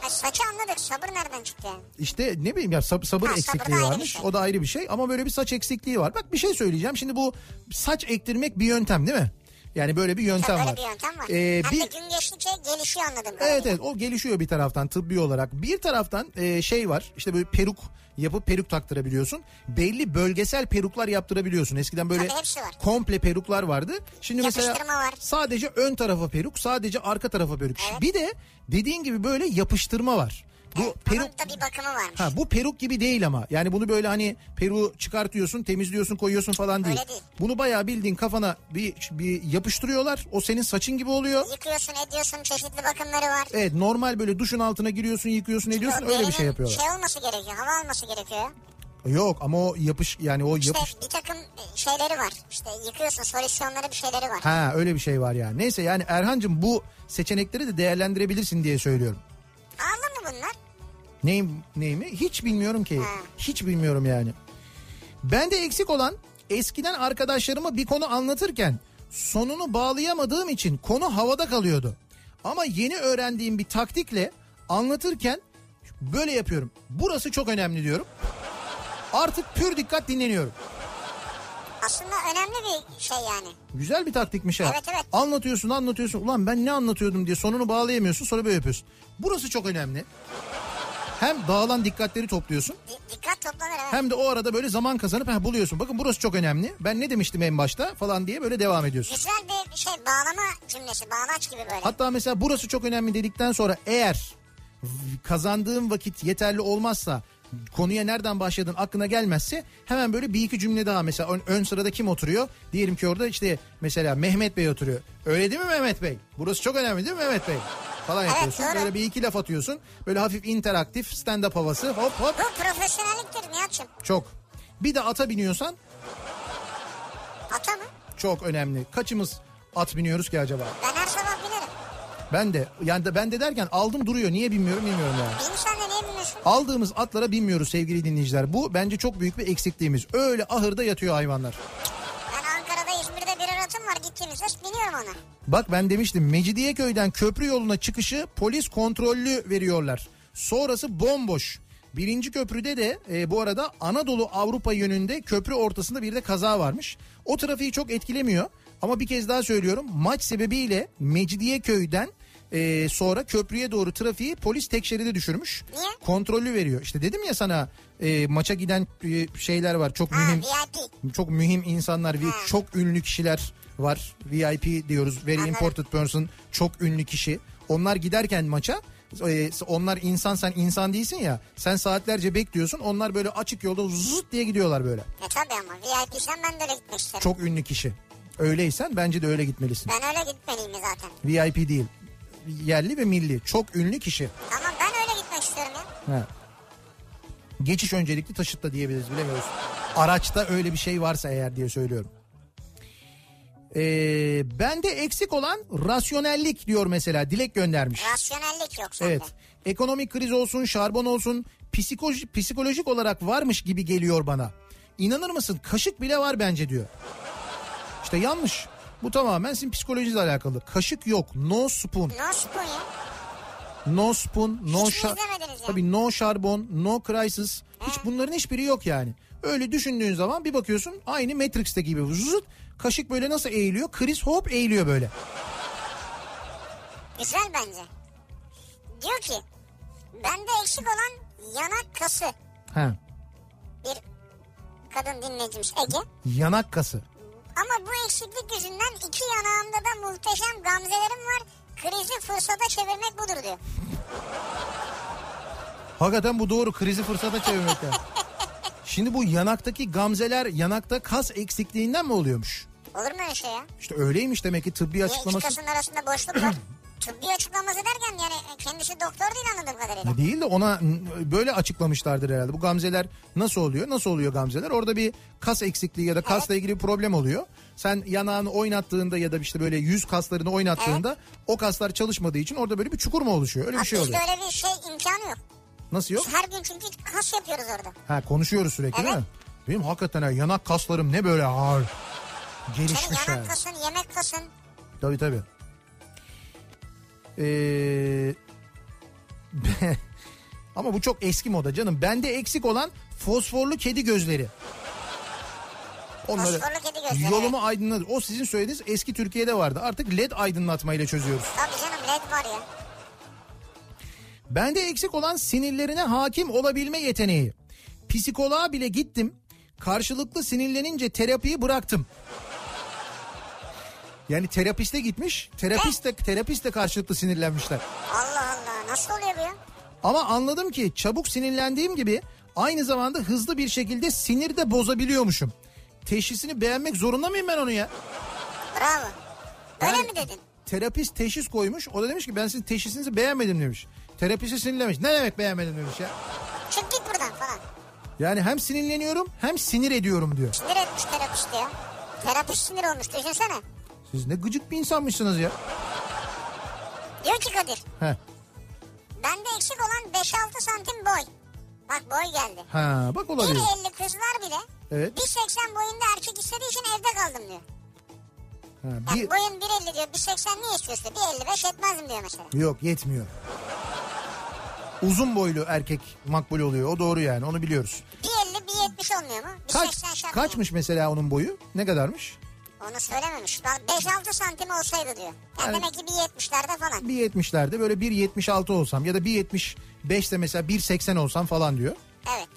S2: Ha, saçı anladık. Sabır nereden çıktı yani?
S1: İşte ne bileyim ya sab- sabır
S2: Ha, sabır
S1: eksikliği
S2: da ayrı
S1: varmış.
S2: bir şey.
S1: O da ayrı bir şey ama böyle bir saç eksikliği var. Bak bir şey söyleyeceğim. Şimdi bu saç ektirmek bir yöntem değil mi? Yani böyle bir yöntem
S2: Böyle
S1: var.
S2: bir yöntem var.
S1: Ee,
S2: Hem
S1: bir-
S2: de gün geçtikçe gelişiyor anladım.
S1: Evet evet o gelişiyor bir taraftan tıbbi olarak. Bir taraftan e, şey var işte böyle peruk yapıp peruk taktırabiliyorsun. Belli bölgesel peruklar yaptırabiliyorsun. Eskiden böyle
S2: Tabii, hepsi var.
S1: komple peruklar vardı. Şimdi mesela
S2: Yapıştırma var.
S1: sadece ön tarafa peruk sadece arka tarafa peruk. Bir de dediğin gibi böyle yapıştırma var. Bu peruk
S2: Onun da bir bakımı varmış.
S1: Ha bu peruk gibi değil ama. Yani bunu böyle hani peruğu çıkartıyorsun, temizliyorsun, koyuyorsun falan değil.
S2: Öyle değil.
S1: Bunu bayağı bildiğin kafana bir, bir yapıştırıyorlar. O senin saçın gibi oluyor.
S2: Yıkıyorsun ediyorsun çeşitli bakımları var.
S1: Evet normal böyle duşun altına giriyorsun, yıkıyorsun, ediyorsun öyle bir şey
S2: Derinin
S1: yapıyorlar.
S2: Şey olması gerekiyor hava alması gerekiyor.
S1: Yok ama o yapış yani o
S2: İşte
S1: yapış.
S2: bir takım şeyleri var. İşte yıkıyorsun solüsyonları bir şeyleri var.
S1: Ha öyle bir şey var yani. Neyse yani Erhancığım bu seçenekleri de değerlendirebilirsin diye söylüyorum.
S2: Pahalı mı bunlar?
S1: Neyim, neyimi? Hiç bilmiyorum ki. Hiç bilmiyorum yani. Bende eksik olan eskiden arkadaşlarıma bir konu anlatırken sonunu bağlayamadığım için konu havada kalıyordu. Ama yeni öğrendiğim bir taktikle anlatırken böyle yapıyorum. Burası çok önemli diyorum. Artık pür dikkat dinleniyorum.
S2: Aslında önemli bir şey yani.
S1: Güzel bir taktikmiş ha.
S2: Evet, evet.
S1: Anlatıyorsun anlatıyorsun. Ulan ben ne anlatıyordum diye sonunu bağlayamıyorsun sonra böyle yapıyorsun. Burası çok önemli. Hem dağılan dikkatleri topluyorsun.
S2: Di- dikkat toplanır evet.
S1: Hem de o arada böyle zaman kazanıp ha, buluyorsun. Bakın burası çok önemli. Ben ne demiştim en başta falan diye böyle devam ediyorsun.
S2: Güzel bir şey bağlama cümlesi bağlaç gibi böyle.
S1: Hatta mesela burası çok önemli dedikten sonra eğer v- kazandığın vakit yeterli olmazsa konuya nereden başladın aklına gelmezse hemen böyle bir iki cümle daha mesela ön, ön sırada kim oturuyor? Diyelim ki orada işte mesela Mehmet Bey oturuyor. Öyle değil mi Mehmet Bey? Burası çok önemli değil mi Mehmet Bey? Falan
S2: Evet,
S1: yapıyorsun.
S2: doğru.
S1: Böyle bir iki laf atıyorsun. Böyle hafif interaktif stand-up havası hop hop
S2: Bu profesyonelliktir Nihat'cığım.
S1: çok. Bir de ata biniyorsan
S2: Ata mı?
S1: çok önemli. Kaçımız at biniyoruz ki acaba?
S2: Ben her sabah bilirim.
S1: Ben de yani de, ben de derken aldım duruyor. Niye bilmiyorum bilmiyorum yani.
S2: Benim sen de niye bilmiyorsun?
S1: Aldığımız atlara binmiyoruz sevgili dinleyiciler. Bu bence çok büyük bir eksikliğimiz. Öyle ahırda yatıyor hayvanlar.
S2: Ben Ankara'da İzmir'de birer atım var gittiğimizde biniyorum ona.
S1: Bak ben demiştim Mecidiyeköy'den köprü yoluna çıkışı polis kontrollü veriyorlar. Sonrası bomboş. Birinci köprüde de e, bu arada Anadolu Avrupa yönünde köprü ortasında bir de kaza varmış. O trafiği çok etkilemiyor ama bir kez daha söylüyorum maç sebebiyle Mecidiyeköy'den e, sonra köprüye doğru trafiği polis tek şeride düşürmüş.
S2: Niye?
S1: Kontrollü veriyor. İşte dedim ya sana e, maça giden e, şeyler var çok
S2: Ha
S1: mühim
S2: VIP.
S1: çok mühim insanlar ve çok ünlü kişiler var. VIP diyoruz. Very
S2: Anladım.
S1: important person. Çok ünlü kişi. Onlar giderken maça e, onlar insan sen insan değilsin ya. Sen saatlerce bekliyorsun. Onlar böyle açık yolda zıt diye gidiyorlar böyle.
S2: E tabi ama VIP'sen ben de öyle gitmek isterim.
S1: Çok ünlü kişi. Öyleysen bence de öyle gitmelisin.
S2: Ben öyle gitmeliyim zaten.
S1: VIP değil. Yerli ve milli. Çok ünlü kişi.
S2: Tamam ben öyle gitmek istiyorum ya.
S1: Ha. Geçiş öncelikli taşıtla diyebiliriz bilemiyoruz. Araçta öyle bir şey varsa eğer diye söylüyorum. Ee, bende eksik olan rasyonellik diyor mesela Dilek göndermiş.
S2: Rasyonellik yok sende.
S1: Evet. Ekonomik kriz olsun, şarbon olsun, psikoloji, psikolojik olarak varmış gibi geliyor bana. İnanır mısın? Kaşık bile var bence diyor. İşte yanlış. Bu tamamen sizin psikolojinizle alakalı. Kaşık yok. No spoon.
S2: No spoon ya.
S1: No spoon, no
S2: Hiç mi
S1: şar...
S2: izlemediniz ya?
S1: Tabii no şarbon, no crisis. Hiç bunların hiçbiri yok yani. Öyle düşündüğün zaman bir bakıyorsun aynı Matrix'te gibi. Zıt, kaşık böyle nasıl eğiliyor? Chris hop eğiliyor böyle.
S2: Güzel bence. Diyor ki bende eksik olan yanak kası
S1: Ha.
S2: bir kadın dinleyicimiz Ege.
S1: Yanak kası.
S2: Ama bu eksiklik yüzünden iki yanağımda da muhteşem gamzelerim var. Krizi fırsata çevirmek budur diyor.
S1: Hakikaten bu doğru. Krizi fırsata çevirmek yani. Şimdi bu yanaktaki gamzeler yanakta kas eksikliğinden mi oluyormuş?
S2: Olur mu öyle şey ya?
S1: İşte öyleymiş demek ki tıbbi
S2: Niye iki
S1: açıklaması
S2: kasın arasında boşluk var? Tıbbi açıklaması derken yani kendisi doktor değil anladığım kadarıyla.
S1: Ya Değil de ona n- böyle açıklamışlardır herhalde. Bu gamzeler nasıl oluyor? Nasıl oluyor gamzeler? Orada bir kas eksikliği ya da kasla ilgili bir problem oluyor. Sen yanağını oynattığında ya da işte böyle yüz kaslarını oynattığında o kaslar çalışmadığı için orada böyle bir çukur mu oluşuyor? Öyle bir
S2: Abi
S1: şey
S2: bizde
S1: oluyor.
S2: öyle bir şey imkanı yok.
S1: Nasıl yok?
S2: Biz her gün çünkü kas yapıyoruz orada.
S1: Ha konuşuyoruz sürekli değil
S2: Evet.
S1: mi? Benim hakikaten ha, yanak kaslarım ne böyle ağır.
S2: Senin
S1: Gelişmiş yani.
S2: yanak kasın, yemek kasın.
S1: Tabii tabii. Ee, ama bu çok eski moda canım. Bende eksik olan fosforlu kedi gözleri. Onları
S2: Fosforlu kedi gözleri.
S1: yolumu aydınlat. O sizin söylediğiniz eski Türkiye'de vardı. Artık led aydınlatmayla çözüyoruz.
S2: Tabii canım led var ya.
S1: Bende eksik olan sinirlerine hakim olabilme yeteneği. Psikoloğa bile gittim. Karşılıklı sinirlenince terapiyi bıraktım. Yani terapiste gitmiş. Terapiste terapiste karşılıklı sinirlenmişler.
S2: Allah Allah nasıl oluyor bu ya?
S1: Ama anladım ki çabuk sinirlendiğim gibi aynı zamanda hızlı bir şekilde sinir de bozabiliyormuşum. Teşhisini beğenmek zorunda mıyım ben onu ya?
S2: Bravo. Öyle
S1: Yani
S2: mi dedin?
S1: Terapist teşhis koymuş. O da demiş ki ben sizin teşhisinizi beğenmedim demiş. Terapisi sinirlenmiş. Ne demek beğenmedim demiş ya.
S2: Çık git buradan falan.
S1: Yani hem sinirleniyorum hem sinir ediyorum diyor.
S2: Sinir etmiş terapist ya. Terapist sinir olmuş düşünsene.
S1: Siz ne gıcık bir insanmışsınız ya.
S2: Diyor ki Kadir
S1: Heh.
S2: bende eksik olan 5-6 santim boy. Bak boy geldi.
S1: Ha bak olabilir.
S2: 1.50 kızlar bile
S1: Evet.
S2: 1.80 boyunda erkek istediği için evde kaldım diyor.
S1: Ha,
S2: Bak
S1: bir...
S2: boyun 1.50 diyor 1.80 niye istiyorsun? 1.55 etmezdim diyor mesela.
S1: Yok yetmiyor. Uzun boylu erkek makbul oluyor. O doğru yani onu biliyoruz.
S2: 1.50 1.70 olmuyor mu? 1.80
S1: Kaç,
S2: şart değil.
S1: kaçmış mesela onun boyu? Ne kadarmış?
S2: Onu söylememiş. Bak 5-6 santim olsaydı diyor. Ya
S1: Evet.
S2: demek ki 1.70'lerde falan.
S1: 1.70'lerde böyle 1.76 olsam ya da 1.75 de mesela 1.80 olsam falan diyor.
S2: Evet.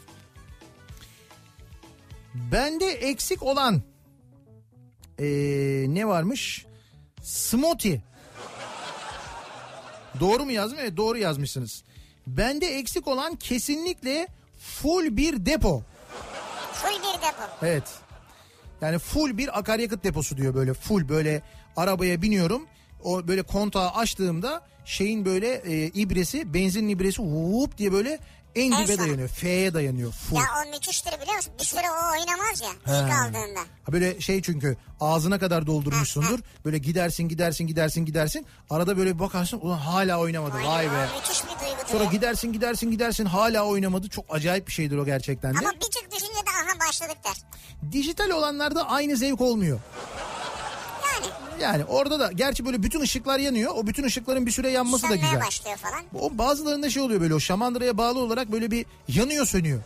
S1: Bende eksik olan ee, ne varmış? Smoothie. Doğru mu yazmış? Evet doğru yazmışsınız. Bende eksik olan kesinlikle full bir depo.
S2: Full bir depo.
S1: Evet. Yani full bir akaryakıt deposu diyor böyle full böyle arabaya biniyorum. O böyle kontağı açtığımda şeyin böyle e, ibresi benzin ibresi vup diye böyle en
S2: En
S1: dibe
S2: sona.
S1: dayanıyor. F'ye dayanıyor full.
S2: Ya o müthiştir biliyor musun? Bir süre o oynamaz ya ilk aldığında.
S1: Ha böyle şey çünkü ağzına kadar doldurmuşsundur. Böyle gidersin gidersin gidersin gidersin. Arada böyle bir bakarsın ulan hala oynamadı vay
S2: Oynar,
S1: be.
S2: o Müthiş bir duygudur.
S1: Sonra
S2: ya.
S1: gidersin gidersin gidersin hala oynamadı. Çok acayip bir şeydir o gerçekten de.
S2: Ama bir tık düşünce de aha başladık der.
S1: Dijital olanlarda aynı zevk olmuyor.
S2: Yani
S1: Yani orada da gerçi böyle bütün ışıklar yanıyor. O bütün ışıkların bir süre yanması da
S2: sönmeye
S1: güzel.
S2: başlıyor falan.
S1: O bazılarında şey oluyor böyle o şamandıraya bağlı olarak böyle bir yanıyor sönüyor.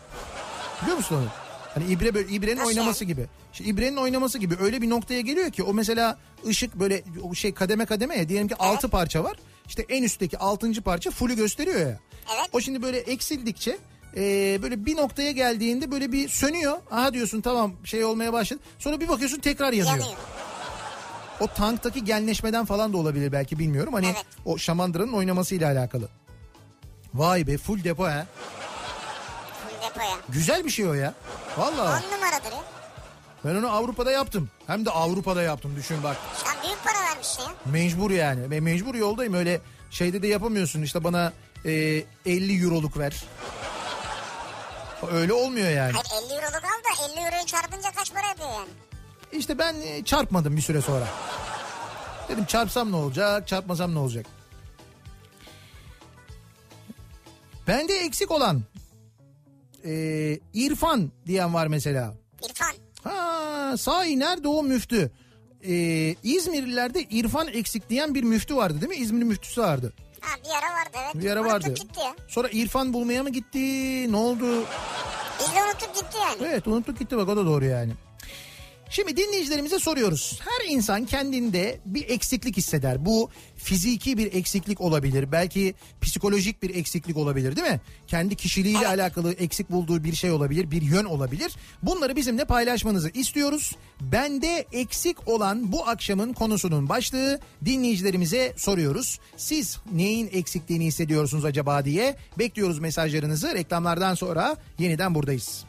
S1: Biliyor musun onu? Hani ibre böyle ibrenin
S2: Nasıl
S1: oynaması gibi. İşte ibrenin oynaması gibi öyle bir noktaya geliyor ki o mesela ışık böyle o şey kademe kademe ya diyelim ki 6 parça var. İşte en üstteki 6. parça full'ü gösteriyor ya.
S2: Evet.
S1: O şimdi böyle eksildikçe e, böyle bir noktaya geldiğinde böyle bir sönüyor. Aha diyorsun tamam şey olmaya başladı. Sonra bir bakıyorsun tekrar yanıyor.
S2: Yanıyor.
S1: O tanktaki genleşmeden falan da olabilir belki bilmiyorum. Hani
S2: Evet.
S1: o şamandıranın oynamasıyla alakalı. Vay be full depo ha.
S2: Full depoya.
S1: Güzel bir şey o ya. Vallahi
S2: On numaradır ya.
S1: ben onu Avrupa'da yaptım. Hem de Avrupa'da yaptım düşün bak.
S2: Sen büyük para vermişsin ya.
S1: Mecbur yani. Ve mecbur yoldayım öyle şeyde de yapamıyorsun işte bana e, 50 euroluk ver. Öyle olmuyor yani.
S2: Hayır 50 euroluk al da 50 euroyu çarpınca kaç para yapıyor yani?
S1: İşte ben e, çarpmadım bir süre sonra. Dedim çarpsam ne olacak, çarpmasam ne olacak? Bende eksik olan e, İrfan diyen var mesela.
S2: İrfan.
S1: Ha, sahi nerede o müftü? E, İzmirlilerde İrfan eksik diyen bir müftü vardı değil mi? İzmir müftüsü vardı.
S2: Ha bir ara vardı evet.
S1: Bir ara
S2: Unuttuk
S1: vardı.
S2: gitti ya.
S1: Sonra İrfan bulmaya mı gitti? Ne oldu?
S2: Biz de unuttuk gitti yani.
S1: Evet unuttuk gitti bak o da doğru yani. Şimdi dinleyicilerimize soruyoruz. Her insan kendinde bir eksiklik hisseder. Bu fiziki bir eksiklik olabilir. Belki psikolojik bir eksiklik olabilir değil mi? Kendi kişiliğiyle alakalı eksik bulduğu bir şey olabilir, bir yön olabilir. Bunları bizimle paylaşmanızı istiyoruz. Bende eksik olan bu akşamın konusunun başlığı dinleyicilerimize soruyoruz. Siz neyin eksikliğini hissediyorsunuz acaba diye bekliyoruz mesajlarınızı. Reklamlardan sonra yeniden buradayız.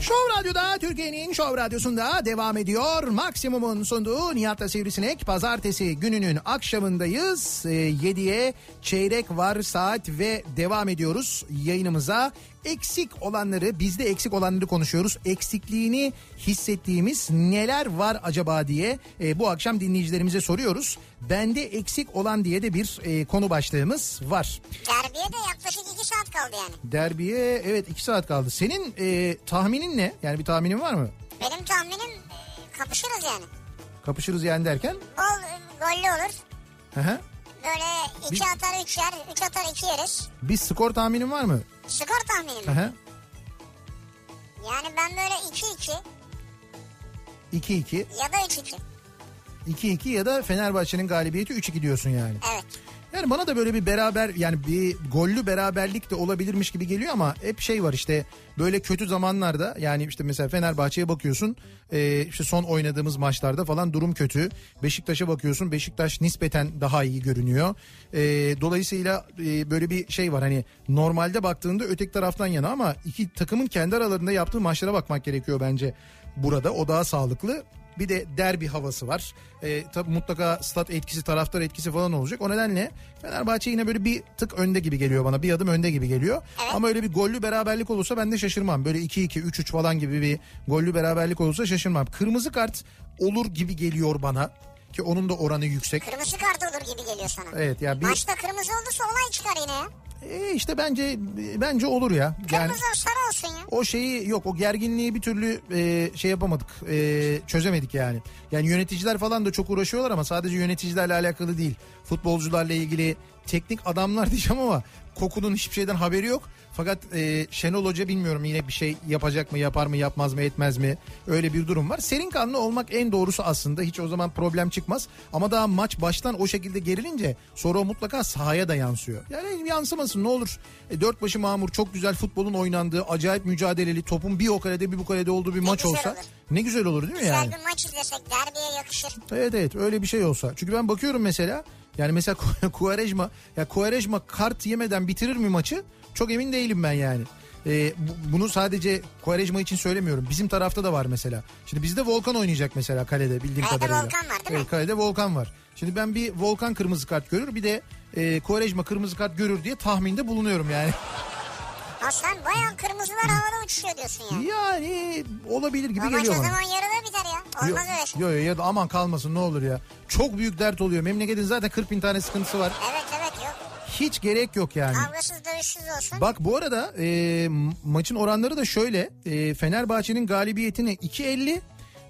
S1: Show Radyo'da Türkiye'nin Show Radyosu'nda devam ediyor. Maksimum'un sunduğu Nihat'la Sivrisinek pazartesi gününün akşamındayız. Ee, 7'ye çeyrek var saat ve devam ediyoruz yayınımıza. Eksik olanları bizde eksik olanları konuşuyoruz. Eksikliğini hissettiğimiz neler var acaba diye e, bu akşam dinleyicilerimize soruyoruz. Bende eksik olan diye de bir e, konu başlığımız var.
S2: Derbiye de yaklaşık 2 saat kaldı yani.
S1: Derbiye evet 2 saat kaldı. Senin e, tahminin ne? Yani bir tahminin var mı?
S2: Benim tahminim e, kapışırız yani.
S1: Kapışırız yani derken.
S2: Bol e, gollü olur.
S1: Hı hı.
S2: Böyle
S1: Bir-
S2: 2 atar 3 yer, 3 atar 2 yeriz.
S1: Bir skor tahminin var mı?
S2: Skor tahminim.
S1: Hı hı.
S2: Yani ben böyle 2-2
S1: 2-2.
S2: ya da 3-2.
S1: 2-2 ya da Fenerbahçe'nin galibiyeti 3-2 diyorsun yani.
S2: Evet.
S1: Yani bana da böyle bir beraber yani bir gollü beraberlik de olabilirmiş gibi geliyor ama hep şey var işte böyle kötü zamanlarda yani işte mesela Fenerbahçe'ye bakıyorsun e, işte son oynadığımız maçlarda falan durum kötü. Beşiktaş'a bakıyorsun Beşiktaş nispeten daha iyi görünüyor. E, dolayısıyla e, böyle bir şey var hani normalde baktığında öteki taraftan yana ama iki takımın kendi aralarında yaptığı maçlara bakmak gerekiyor bence burada o daha sağlıklı. Bir de derbi havası var. E, tabii mutlaka stat etkisi, taraftar etkisi falan olacak. O nedenle Fenerbahçe yine böyle bir tık önde gibi geliyor bana. Bir adım önde gibi geliyor. Ama öyle bir gollü beraberlik olursa ben de şaşırmam. Böyle 2-2, 3-3 falan gibi bir gollü beraberlik olursa şaşırmam. Kırmızı kart olur gibi geliyor bana. Ki onun da oranı yüksek.
S2: Kırmızı kart olur gibi geliyor sana.
S1: Evet ya bir
S2: Maçta kırmızı olursa olay çıkar yine ya.
S1: E, işte bence bence olur ya. Yani
S2: Kırmızı sarı olsun ya.
S1: o şeyi yok o gerginliği bir türlü e, şey yapamadık e, çözemedik yani. Yani yöneticiler falan da çok uğraşıyorlar ama sadece yöneticilerle alakalı değil. Futbolcularla ilgili teknik adamlar diyeceğim ama kokunun hiçbir şeyden haberi yok. Fakat e, Şenol Hoca bilmiyorum yine bir şey yapacak mı yapar mı yapmaz mı etmez mi öyle bir durum var. Serin kanlı olmak en doğrusu aslında hiç o zaman problem çıkmaz. Ama daha maç baştan o şekilde gerilince sonra o mutlaka sahaya da yansıyor. Yani yansımasın ne olur. E, dört başı mamur çok güzel futbolun oynandığı acayip mücadeleli topun bir o kalede bir bu kalede olduğu bir maç
S2: güzel
S1: olsa
S2: olur.
S1: ne güzel olur değil mi
S2: Güzel
S1: yani?
S2: bir maç izlesek derbiye yakışır.
S1: Evet evet öyle bir şey olsa. Çünkü ben bakıyorum mesela yani mesela Kuarejma ya Kuarejma kart yemeden bitirir mi maçı? Çok emin değilim ben yani. Ee, bu- bunu sadece Kuarejma için söylemiyorum. Bizim tarafta da var mesela. Şimdi bizde Volkan oynayacak mesela kalede bildiğim
S2: Kalede
S1: kadarıyla.
S2: Volkan var, değil mi?
S1: Evet, kalede Volkan var. Şimdi ben bir Volkan kırmızı kart görür bir de e, Kuarejma kırmızı kart görür diye tahminde bulunuyorum yani.
S2: Ha sen bayağı kırmızılar havada uçuşuyor diyorsun ya.
S1: Yani olabilir gibi
S2: O maç o
S1: geliyor bana.
S2: zaman yarıda biter ya.
S1: Yok,
S2: Olmaz öyle şey.
S1: Yok yok ya da aman kalmasın ne olur ya. Çok büyük dert oluyor. Memleketin zaten 40 bin tane sıkıntısı var.
S2: Evet evet yok.
S1: Hiç gerek yok yani.
S2: Kavgasız dövüşsüz olsun.
S1: Bak bu arada e, maçın oranları da şöyle. E, Fenerbahçe'nin galibiyetine 2.50,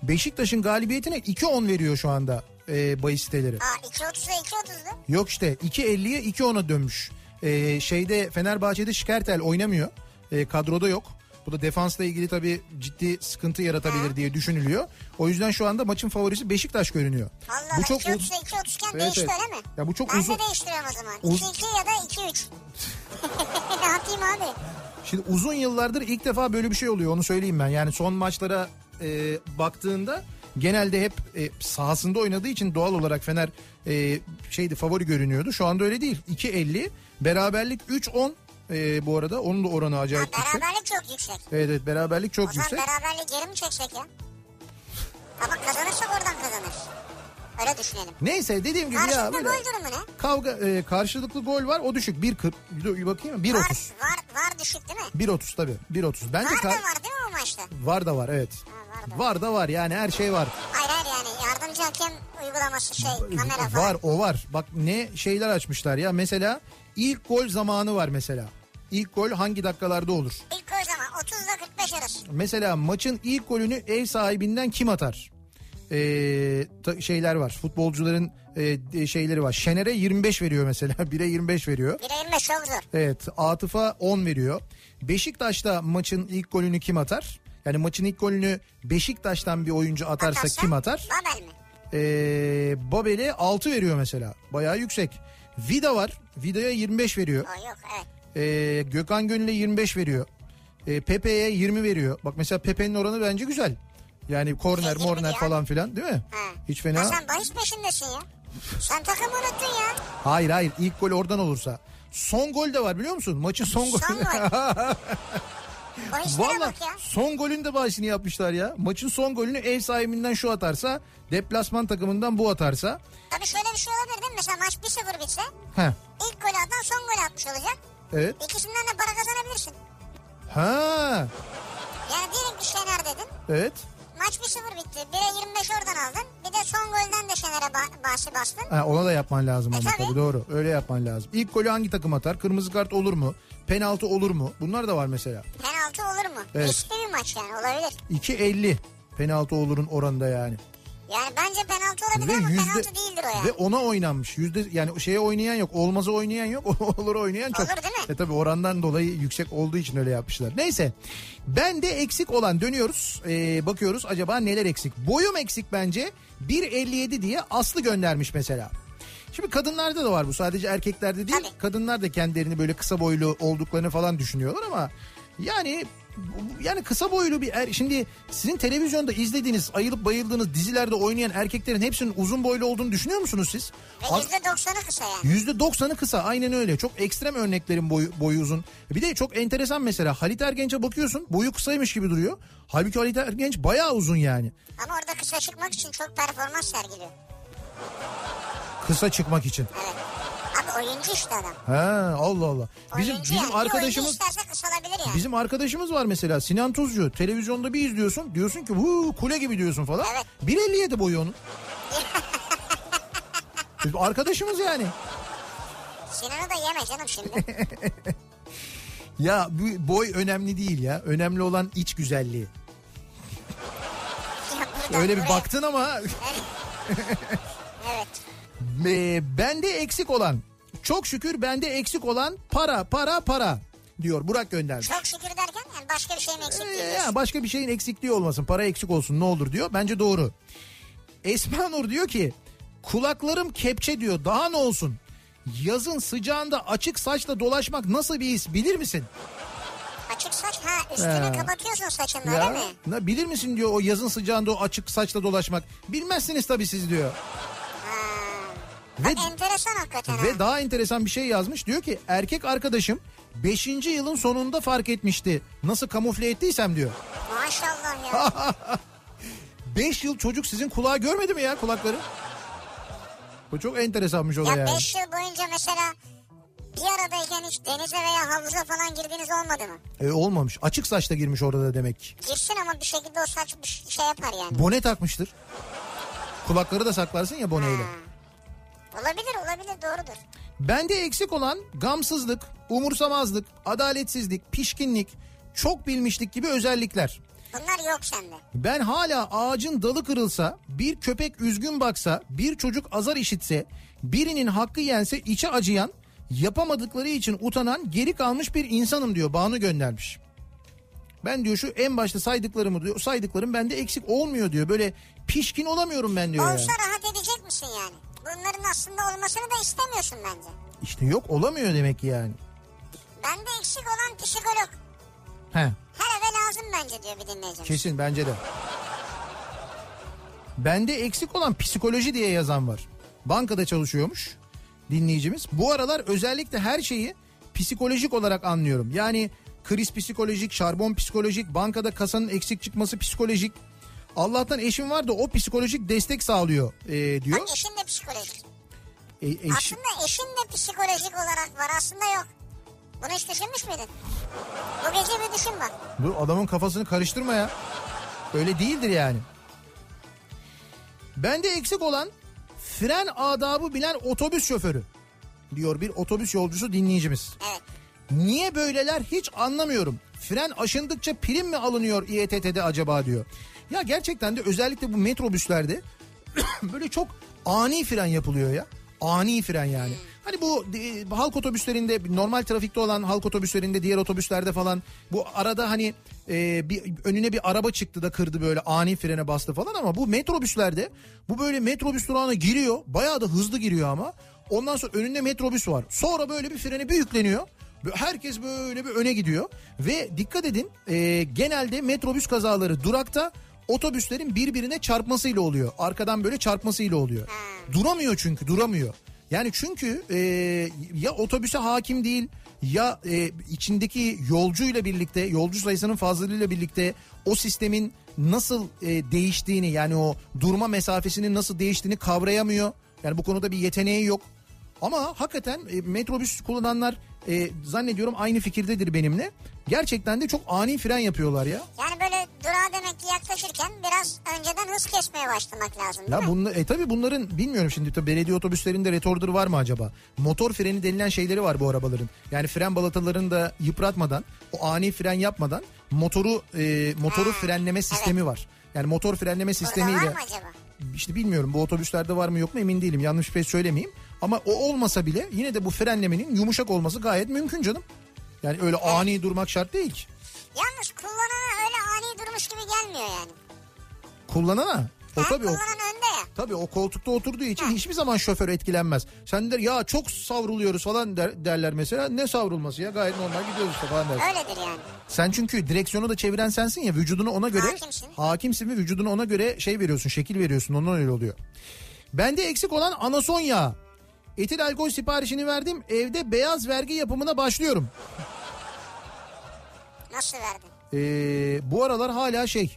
S1: Beşiktaş'ın galibiyetine 2.10 veriyor şu anda e, bahis siteleri.
S2: Aa 2.30'a 2.30'du.
S1: Yok işte 2.50'ye 2.10'a dönmüş. E, şeyde Fenerbahçe'de Şikertel oynamıyor. E, kadroda yok. Bu da defansla ilgili tabii ciddi sıkıntı yaratabilir diye düşünülüyor. O yüzden şu anda maçın favorisi Beşiktaş görünüyor.
S2: Allah Allah
S1: bu çok
S2: 2.30'a 2.30'ken
S1: Evet,
S2: değişti
S1: evet.
S2: öyle mi?
S1: Ya bu çok
S2: ben
S1: uzun-
S2: de değiştiriyorum o zaman.
S1: Uz-
S2: 2.2 ya da 2.3. ne yapayım abi?
S1: Şimdi uzun yıllardır ilk defa böyle bir şey oluyor onu söyleyeyim ben. Yani son maçlara e, baktığında genelde hep e, sahasında oynadığı için doğal olarak Fener e, şeydi favori görünüyordu. Şu anda öyle değil. 2.50 beraberlik 3.10 e, bu arada onun da oranı
S2: Ha,
S1: acayip yüksek.
S2: beraberlik çok yüksek.
S1: Evet evet beraberlik
S2: O
S1: çok
S2: zaman
S1: yüksek.
S2: beraberliği geri mi çeksek ya? Ama kazanırsak oradan kazanır. Öyle düşünelim.
S1: Neyse dediğim gibi ya
S2: Karşılıklı
S1: böyle
S2: gol durumu ne?
S1: kavga e, karşılıklı gol var o düşük 1.40 Dur, bakayım mı?
S2: Var,
S1: 1.30
S2: var, var düşük değil mi?
S1: 1.30 tabii 1.30 bence
S2: Var da
S1: kar-
S2: var değil mi o maçta?
S1: var da var evet
S2: Ha, var da
S1: var da var yani her şey var.
S2: Hayır hayır yani yardımcı hakem uygulaması şey kamera falan.
S1: Var o var. Bak ne şeyler açmışlar ya. Mesela ilk gol zamanı var mesela. İlk gol hangi dakikalarda olur?
S2: İlk gol zaman 30 ile 45 arası.
S1: Mesela maçın ilk golünü ev sahibinden kim atar? Ee, ta- şeyler var. Futbolcuların e, de- şeyleri var. Şener'e 25 veriyor mesela. 1'e 25 veriyor.
S2: 1'e 25 çok zor.
S1: Evet Atıf'a 10 veriyor. Beşiktaş'ta maçın ilk golünü kim atar? Yani maçın ilk golünü Beşiktaş'tan bir oyuncu atarsa
S2: Atarsa
S1: kim atar?
S2: Babel mi?
S1: Ee, Babel'e 6 veriyor mesela. Bayağı yüksek. Vida var. Vida'ya 25 veriyor.
S2: O yok evet.
S1: Ee, Gökhan Gönül'e 25 veriyor. Ee, Pepe'ye 20 veriyor. Bak mesela Pepe'nin oranı bence güzel. Yani korner,
S2: Şey, yirmi
S1: morner
S2: diyor.
S1: falan filan değil mi?
S2: Ha.
S1: Hiç fena.
S2: Ha, sen bahis peşindesin ya. Sen takımı unuttun ya.
S1: Hayır hayır ilk gol oradan olursa. Son gol de var biliyor musun? Maçın son golü.
S2: Son gol. Bahislere
S1: Valla
S2: bak ya.
S1: son golün de bahsini yapmışlar ya. Maçın son golünü ev sahibinden şu atarsa, deplasman takımından bu atarsa.
S2: Tabii şöyle bir şey olabilir değil mi? Mesela maç 1-0 bitse
S1: Heh,
S2: ilk golü atan son golü atmış olacak.
S1: evet.
S2: İkisinden de para kazanabilirsin.
S1: Ha,
S2: Yani diyelim ki Şener dedin.
S1: evet.
S2: Maç 1-0 bitti. 1'e 25 oradan aldın. Bir de son golden de Şener'e ba- bahsi bastın.
S1: Ha, ona da yapman lazım
S2: E,
S1: ama
S2: tabii.
S1: tabii doğru. Öyle yapman lazım. İlk golü hangi takım atar? Kırmızı kart olur mu? Penaltı olur mu? Bunlar da var mesela.
S2: Penaltı olur mu?
S1: Evet.
S2: Riskli bir maç yani olabilir.
S1: 2.50 penaltı olurun oranında yani.
S2: Yani bence penaltı olabilir ama penaltı değildir o yani.
S1: ve ona oynanmış. Yüzde yani şeye oynayan yok. Olmazı oynayan yok. Olur oynayan çok.
S2: Olur değil mi?
S1: E tabii orandan dolayı yüksek olduğu için öyle yapmışlar. Neyse. Ben de eksik olan dönüyoruz. Ee, bakıyoruz acaba neler eksik. Boyum eksik bence. 1.57 diye Aslı göndermiş mesela. Şimdi kadınlarda da var bu sadece erkeklerde değil.
S2: Tabii.
S1: Kadınlar da kendilerini böyle kısa boylu olduklarını falan düşünüyorlar ama yani bu- yani kısa boylu bir er, şimdi sizin televizyonda izlediğiniz ayılıp bayıldığınız dizilerde oynayan erkeklerin hepsinin uzun boylu olduğunu düşünüyor musunuz siz?
S2: Ve
S1: Az-
S2: %90'ı kısa yani.
S1: %90'ı kısa aynen öyle. Çok ekstrem örneklerin boyu, boyu uzun. Bir de çok enteresan mesela Halit Ergenç'e bakıyorsun boyu kısaymış gibi duruyor. Halbuki Halit Ergenç bayağı uzun yani.
S2: Ama orada kısa çıkmak için çok performans sergiliyor.
S1: Kısa çıkmak için.
S2: Evet. Abi oyuncu işte adam.
S1: Ha Allah Allah. Bizim
S2: oyuncu yani.
S1: bizim
S2: Bir oyuncu
S1: arkadaşımız
S2: isterse kısalabilir yani.
S1: Bizim arkadaşımız var mesela Sinan Tuzcu. Televizyonda bir izliyorsun diyorsun ki "Huu, kule gibi diyorsun falan.
S2: Evet.
S1: 1.57 boyu onun. Biz arkadaşımız yani.
S2: Sinan'ı da yeme canım şimdi.
S1: Ya bu boy önemli değil ya. Önemli olan iç güzelliği.
S2: Ya buradan
S1: Öyle bir
S2: buraya.
S1: baktın ama
S2: Evet.
S1: e, bende eksik olan Çok şükür bende eksik olan para para para diyor Burak göndermiş.
S2: Çok şükür derken yani başka bir şey mi eksik
S1: Ee,
S2: değil?
S1: ya başka bir şeyin eksikliği olmasın. Para eksik olsun ne olur diyor. Bence doğru. Esma Nur diyor ki kulaklarım kepçe diyor. Daha ne olsun? Yazın sıcağında açık saçla dolaşmak nasıl bir his bilir misin?
S2: Açık saç ha üstünü
S1: Ee.
S2: kapatıyorsun saçınla
S1: Ya,
S2: öyle mi?
S1: na- bilir misin diyor o yazın sıcağında o açık saçla dolaşmak. Bilmezsiniz tabii siz diyor. Ve
S2: Bak enteresan hakikaten ha.
S1: Ve daha enteresan bir şey yazmış. Diyor ki erkek arkadaşım 5. yılın sonunda fark etmişti. Nasıl kamufle ettiysem diyor.
S2: Maşallah
S1: Ah
S2: ya.
S1: 5 yıl çocuk sizin kulağı görmedi mi ya kulakları? Bu çok enteresanmış o da
S2: ya
S1: yani.
S2: 5 yıl boyunca mesela bir aradayken hiç denize veya havuza falan girdiğiniz olmadı mı?
S1: E, olmamış. Açık saçla girmiş orada da demek.
S2: Girsin ama bir şekilde o saç bir şey yapar yani.
S1: Bone takmıştır. Kulakları da saklarsın ya boneyle.
S2: Olabilir olabilir doğrudur.
S1: Bende eksik olan gamsızlık, umursamazlık, adaletsizlik, pişkinlik, çok bilmişlik gibi özellikler.
S2: Bunlar yok sende.
S1: Ben hala ağacın dalı kırılsa, bir köpek üzgün baksa, bir çocuk azar işitse, birinin hakkı yense içe acıyan, yapamadıkları için utanan, geri kalmış bir insanım diyor Banu göndermiş. Ben diyor şu en başta saydıklarımı diyor saydıklarım bende eksik olmuyor diyor. Böyle pişkin olamıyorum ben diyor.
S2: Olsa
S1: yani.
S2: rahat edecek misin yani? Bunların aslında olmasını da istemiyorsun bence.
S1: İşte yok olamıyor demek ki yani.
S2: Bende eksik olan psikolog.
S1: He.
S2: Her eve lazım bence diyor bir dinleyicimiz.
S1: Kesin bence de. Bende eksik olan psikoloji diye yazan var. Bankada çalışıyormuş dinleyicimiz. Bu aralar özellikle her şeyi psikolojik olarak anlıyorum. Yani kriz psikolojik, şarbon psikolojik, bankada kasanın eksik çıkması psikolojik. Allah'tan eşim var da o psikolojik destek sağlıyor e, diyor.
S2: Bak eşin de psikolojik.
S1: E, eş-
S2: Aslında eşin de psikolojik olarak var aslında yok. Bunu hiç düşünmüş müydün? Bu gece bir düşün bak.
S1: Dur adamın kafasını karıştırma ya. Öyle değildir yani. Bende eksik olan fren adabı bilen otobüs şoförü diyor bir otobüs yolcusu dinleyicimiz.
S2: Evet.
S1: Niye böyleler hiç anlamıyorum. Fren aşındıkça prim mi alınıyor İETT'de acaba diyor. Ya gerçekten de özellikle bu metrobüslerde böyle çok ani fren yapılıyor ya. Ani fren yani. Hani bu e, halk otobüslerinde normal trafikte olan halk otobüslerinde diğer otobüslerde falan bu arada hani e, bir önüne bir araba çıktı da kırdı böyle ani frene bastı falan ama bu metrobüslerde bu böyle metrobüs durağına giriyor bayağı da hızlı giriyor ama ondan sonra önünde metrobüs var sonra böyle bir freni bir yükleniyor Böyle Herkes böyle bir öne gidiyor ve dikkat edin e, genelde metrobüs kazaları durakta otobüslerin birbirine çarpmasıyla oluyor. Arkadan böyle çarpmasıyla oluyor. Duramıyor çünkü duramıyor. Yani çünkü e, ya otobüse hakim değil ya e, içindeki yolcuyla birlikte yolcu sayısının fazlalığıyla birlikte o sistemin nasıl e, değiştiğini yani o durma mesafesinin nasıl değiştiğini kavrayamıyor. Yani bu konuda bir yeteneği yok. Ama hakikaten e, metrobüs kullananlar e, zannediyorum aynı fikirdedir benimle. Gerçekten de çok ani fren yapıyorlar ya.
S2: Yani böyle durağa demek ki yaklaşırken biraz önceden hız kesmeye başlamak lazım değil
S1: Ya
S2: mi?
S1: bunla, e tabii bunların bilmiyorum şimdi tabii belediye otobüslerinde retorder var mı acaba? Motor freni denilen şeyleri var bu arabaların. Yani fren balatalarını da yıpratmadan, o ani fren yapmadan motoru e, motoru
S2: Ha,
S1: frenleme sistemi var. Yani motor frenleme
S2: Burada
S1: sistemiyle
S2: Hmm, var mı acaba?
S1: işte bilmiyorum bu otobüslerde var mı yok mu emin değilim. Yanlış bir şey söylemeyeyim. Ama o olmasa bile yine de bu frenlemenin yumuşak olması gayet mümkün canım. Yani öyle ani durmak şart değil ki.
S2: Yalnız kullanana öyle ani durmuş gibi gelmiyor yani.
S1: Kullanana. O
S2: Hem
S1: E, tabii o,
S2: kullanan önde ya.
S1: tabii o koltukta oturduğu için hiçbir zaman şoför etkilenmez. Sen der ya çok savruluyoruz falan der- derler mesela. Ne savrulması ya gayet normal gidiyoruz işte falan dersin.
S2: Öyledir yani.
S1: Sen çünkü direksiyonu da çeviren sensin ya vücudunu ona göre
S2: Hakimsin.
S1: hakimsin ve vücudunu ona göre şey veriyorsun şekil veriyorsun ondan öyle oluyor. Bende eksik olan anason yağı. Etil alkol siparişini verdim evde beyaz vergi yapımına başlıyorum.
S2: Nasıl verdin?
S1: Ee, bu aralar hala şey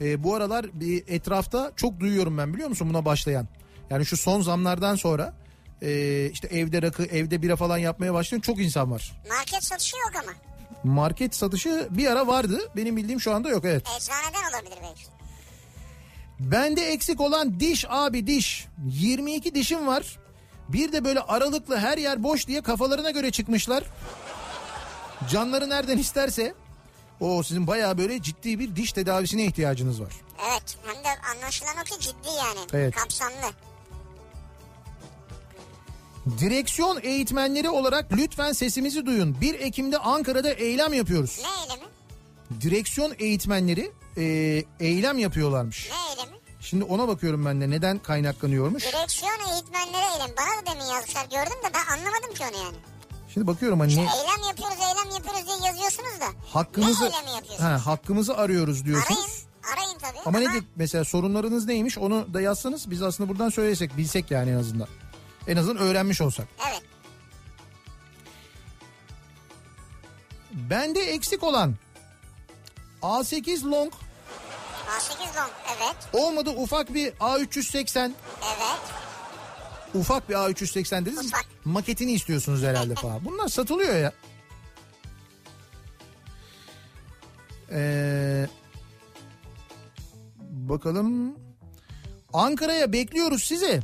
S1: e, bu aralar bir etrafta çok duyuyorum ben biliyor musun buna başlayan. Yani şu son zamlardan sonra e, işte evde rakı evde bira falan yapmaya başlayan çok insan var.
S2: Market satışı yok ama.
S1: Market satışı bir ara vardı benim bildiğim şu anda yok evet.
S2: Eczaneden olabilir belki.
S1: Bende eksik olan diş abi diş. 22 dişim var. Bir de böyle aralıklı her yer boş diye kafalarına göre çıkmışlar. Canları nereden isterse. O sizin bayağı böyle ciddi bir diş tedavisine ihtiyacınız var.
S2: Evet hem de anlaşılan o ki ciddi yani.
S1: Evet.
S2: Kapsamlı.
S1: Direksiyon eğitmenleri olarak lütfen sesimizi duyun. 1 Ekim'de Ankara'da eylem yapıyoruz.
S2: Ne eylemi?
S1: Direksiyon eğitmenleri e, eylem yapıyorlarmış.
S2: Ne eylemi?
S1: Şimdi ona bakıyorum ben de neden kaynaklanıyormuş.
S2: Direksiyon eğitmenleri eylem. Bana da demin yazmışlar gördüm de ben anlamadım ki onu yani.
S1: Şimdi bakıyorum hani ne-
S2: Eylem yapıyoruz eylem yapıyoruz diye yazıyorsunuz da.
S1: hakkımızı
S2: Ne eylemi yapıyorsunuz?
S1: ha, hakkımızı arıyoruz
S2: Arayın.
S1: diyorsunuz.
S2: Arayın tabii.
S1: Ama ne de- mesela sorunlarınız neymiş onu da yazsanız biz aslında buradan söylesek bilsek yani en azından. En azından öğrenmiş olsak.
S2: Evet.
S1: Bende eksik olan A8 long
S2: A8 long. Evet.
S1: olmadı ufak bir A380
S2: Evet.
S1: ufak bir A380 dediniz
S2: Ufak.
S1: maketini istiyorsunuz herhalde falan. Bunlar satılıyor ya. Ee, bakalım. Ankara'ya bekliyoruz sizi.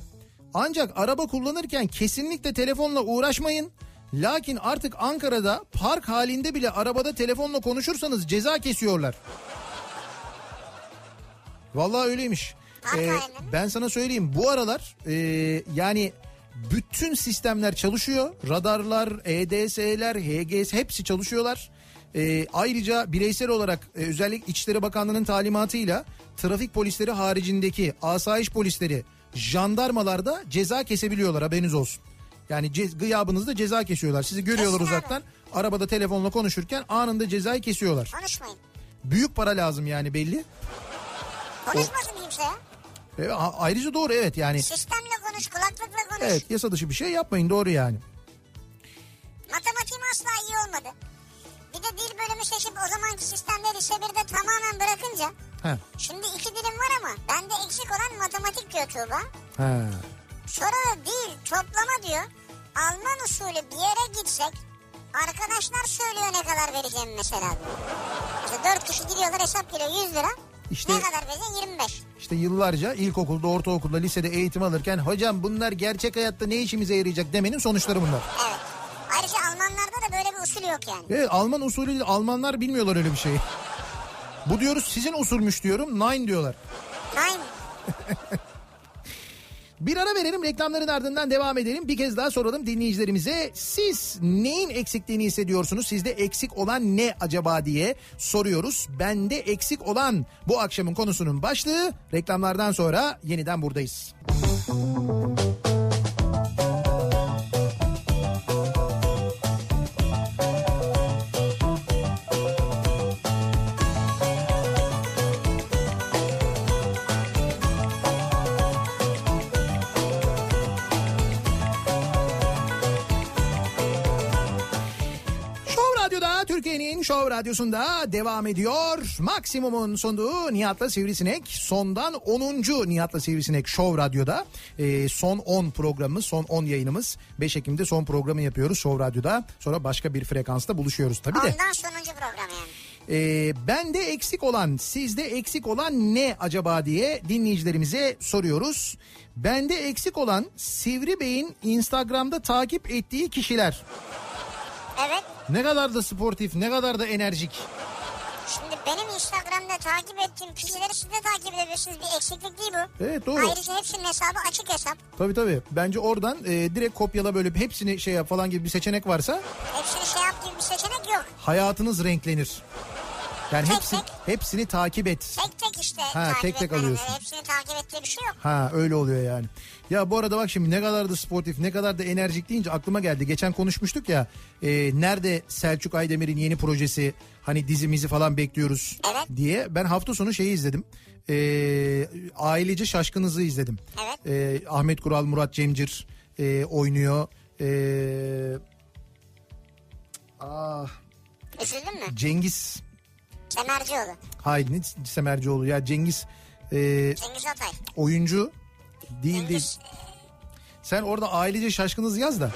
S1: Ancak araba kullanırken kesinlikle telefonla uğraşmayın. Lakin artık Ankara'da park halinde bile arabada telefonla konuşursanız ceza kesiyorlar. Vallahi öyleymiş.
S2: Park
S1: Ee,
S2: halinde mi?
S1: ben sana söyleyeyim bu aralar e, yani bütün sistemler çalışıyor. Radarlar, E EDS'ler, HGS hepsi çalışıyorlar. E, ayrıca bireysel olarak e, özellikle İçişleri Bakanlığı'nın talimatıyla trafik polisleri haricindeki asayiş polisleri jandarmalarda ceza kesebiliyorlar haberiniz olsun. Yani ce- gıyabınızda ceza kesiyorlar. Sizi görüyorlar
S2: Kesin abi.
S1: uzaktan. Arabada telefonla konuşurken anında cezayı kesiyorlar.
S2: Konuşmayın.
S1: Büyük para lazım yani belli.
S2: Konuşmasın kimse ya.
S1: E, a- ayrıca doğru evet yani.
S2: Sistemle konuş, kulaklıkla konuş.
S1: Evet yasa dışı bir şey yapmayın doğru yani.
S2: Matematiğim asla iyi olmadı. Bir de dil bölümü seçip o zamanki sistemde lise 1'de tamamen bırakınca
S1: Ha.
S2: şimdi iki dilim var ama bende eksik olan matematik diyor Tuğba.
S1: Ha.
S2: Sonra da değil toplama diyor. Alman usulü bir yere gitsek arkadaşlar söylüyor ne kadar vereceğim mesela. diyor. İşte 4 kişi giriyorlar hesap geliyor 100 lira.
S1: İşte-
S2: Ne kadar vereceğim 25.
S1: İşte yıllarca ilkokulda, ortaokulda, lisede eğitim alırken hocam bunlar gerçek hayatta ne işimize yarayacak demenin sonuçları bunlar.
S2: Evet. Ayrıca Almanlarda da böyle bir usul yok yani.
S1: Evet E, Alman usulü değil, Almanlar bilmiyorlar öyle bir şeyi. Bu diyoruz sizin usulmüş diyorum. Nine diyorlar.
S2: Nine.
S1: Bir ara verelim reklamların ardından devam edelim. Bir kez daha soralım dinleyicilerimize. Siz neyin eksikliğini hissediyorsunuz? Sizde eksik olan ne acaba diye soruyoruz. Bende eksik olan bu akşamın konusunun başlığı. Reklamlardan sonra yeniden buradayız. Show Radyo'da Türkiye'nin Show Radyosu'nda devam ediyor. Maksimum'un sunduğu Nihat'la Sivrisinek. Sondan 10. Nihat'la Sivrisinek Show Radyo'da. Ee, son 10 programımız, son 10 yayınımız. 5 Ekim'de son programı yapıyoruz Show Radyo'da. Sonra başka bir frekansta buluşuyoruz tabii de.
S2: Ondan sonuncu program yani.
S1: Ee, bende eksik olan, sizde eksik olan ne acaba diye dinleyicilerimize soruyoruz. Bende eksik olan Sivri Bey'in Instagram'da takip ettiği kişiler.
S2: Evet.
S1: Ne kadar da sportif, ne kadar da enerjik.
S2: Şimdi benim Instagram'da takip ettiğim kişileri siz de takip edebilirsiniz. Bir eksiklik değil bu.
S1: Evet, doğru.
S2: Ayrıca hepsinin hesabı açık hesap.
S1: Tabii tabii. Bence oradan e, direkt kopyala böyle hepsini şey yap falan gibi bir seçenek varsa
S2: Hepsini şey yap gibi bir seçenek yok.
S1: hayatınız renklenir. Yani
S2: Tek
S1: hepsi,
S2: tek.
S1: hepsini takip et.
S2: Tek tek işte
S1: Ha,
S2: takip
S1: tek tek
S2: etmen.
S1: alıyorsun.
S2: Hepsini takip ettiği bir şey yok.
S1: Ha öyle oluyor yani. Ya bu arada bak şimdi ne kadar da sportif ne kadar da enerjik deyince aklıma geldi. Geçen konuşmuştuk ya e, nerede Selçuk Aydemir'in yeni projesi hani dizimizi falan bekliyoruz
S2: Evet.
S1: diye. Ben hafta sonu şeyi izledim. E, ailece Şaşkınız'ı izledim.
S2: Evet.
S1: E, Ahmet Kural, Murat Cemcir e, oynuyor. E, ah,
S2: Üzüldün mü?
S1: Cengiz
S2: Kemercioğlu.
S1: Haydi ne Semercioğlu ya Cengiz e,
S2: Cengiz Atay.
S1: oyuncu değil değil.
S2: Cengiz
S1: Sen orada ailece şaşkınız yaz da.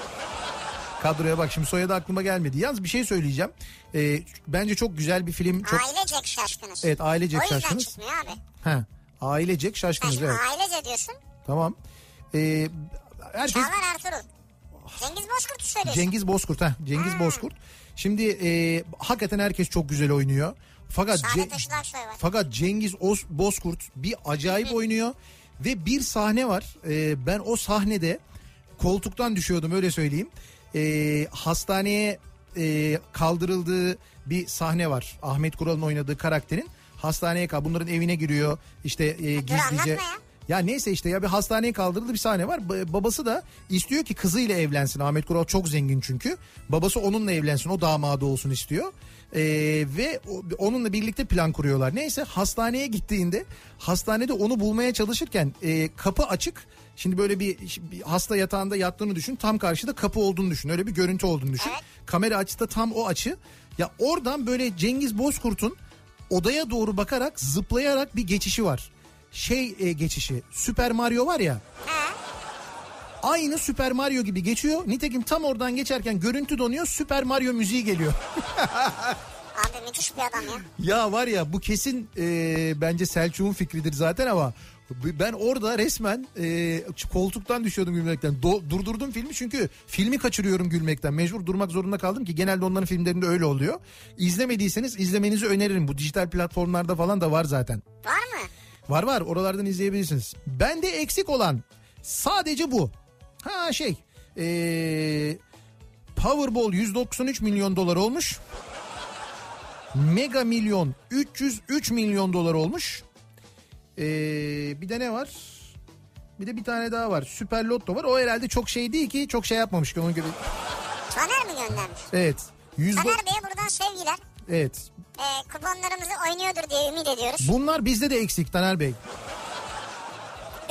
S1: Kadroya bak şimdi soyadı aklıma gelmedi. Yalnız bir şey söyleyeceğim. Ee, bence çok güzel bir film. Çok...
S2: ailecek şaşkınız.
S1: Evet ailecek
S2: O yüzden
S1: şaşkınız.
S2: çıkmıyor abi.
S1: Ha, ailecek
S2: Sen
S1: şaşkınız
S2: şimdi
S1: evet.
S2: ailece diyorsun.
S1: Tamam. Ee, herkes
S2: Çağlar Ertuğrul. Cengiz Bozkurt'u söylüyorsun.
S1: Cengiz Bozkurt ha Cengiz Bozkurt. Şimdi e, hakikaten herkes çok güzel oynuyor. Fakat
S2: Saadet
S1: Ce-
S2: Işıl Aksoy var.
S1: Fakat Cengiz Oz, Bozkurt bir acayip oynuyor ve bir sahne var. Ee, ben o sahnede koltuktan düşüyordum öyle söyleyeyim. Ee, hastaneye e, kaldırıldığı bir sahne var. Ahmet Kural'ın oynadığı karakterin hastaneye kal bunların evine giriyor işte e, gizlice.
S2: anlatma ya.
S1: Ya neyse işte ya bir hastaneye kaldırıldı bir sahne var. Ba- babası da istiyor ki kızıyla evlensin. Ahmet Kural çok zengin çünkü. Babası onunla evlensin o damadı olsun istiyor. Ee, ve o- onunla birlikte plan kuruyorlar. Neyse hastaneye gittiğinde hastanede onu bulmaya çalışırken e, kapı açık. Şimdi böyle bir, bir hasta yatağında yattığını düşün. Tam karşıda kapı olduğunu düşün. Öyle bir görüntü olduğunu düşün. Kamera açısı da tam o açı. Ya oradan böyle Cengiz Bozkurt'un odaya doğru bakarak zıplayarak bir geçişi var şey e, geçişi Super Mario var ya aynı Super Mario gibi geçiyor. Nitekim tam oradan geçerken görüntü donuyor Super Mario müziği geliyor.
S2: Abi müthiş bir adam ya.
S1: ya var ya bu kesin e, bence Selçuk'un fikridir zaten ama ben orada resmen e, koltuktan düşüyordum gülmekten. Do- durdurdum filmi çünkü filmi kaçırıyorum gülmekten. Mecbur durmak zorunda kaldım ki genelde onların filmlerinde öyle oluyor. İzlemediyseniz izlemenizi öneririm. Bu dijital platformlarda falan da var zaten.
S2: Var mı?
S1: Var var oralardan izleyebilirsiniz. Bende eksik olan sadece bu. Ha şey ee, Powerball 193 milyon dolar olmuş. Mega Milyon 303 milyon dolar olmuş. Ee, bir de ne var? Bir de bir tane daha var. Süper Lotto var. O herhalde çok şey değil ki. Çok şey yapmamış ki onun gibi.
S2: Taner mi göndermiş?
S1: Evet. Yüz do-
S2: Taner Bey'e buradan sevgiler.
S1: evet.
S2: Ee, kuponlarımızı oynuyordur diye ümit ediyoruz.
S1: Bunlar bizde de eksik Taner Bey.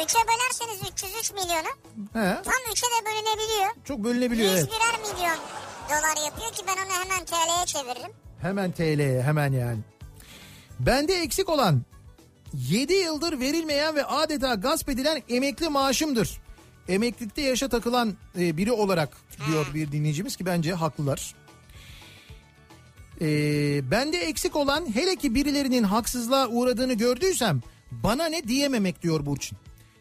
S2: Üçe bölerseniz 303 milyonu
S1: He,
S2: tam üçe de bölünebiliyor.
S1: çok bölünebiliyor. evet.
S2: 101'er milyon dolar yapıyor ki ben onu hemen TL'ye çeviririm.
S1: Hemen TL'ye hemen yani. Bende eksik olan 7 yıldır verilmeyen ve adeta gasp edilen emekli maaşımdır. Emeklilikte yaşa takılan e, biri olarak diyor bir dinleyicimiz ki bence haklılar. E, bende eksik olan hele ki birilerinin haksızlığa uğradığını gördüysem bana ne diyememek diyor Burçin.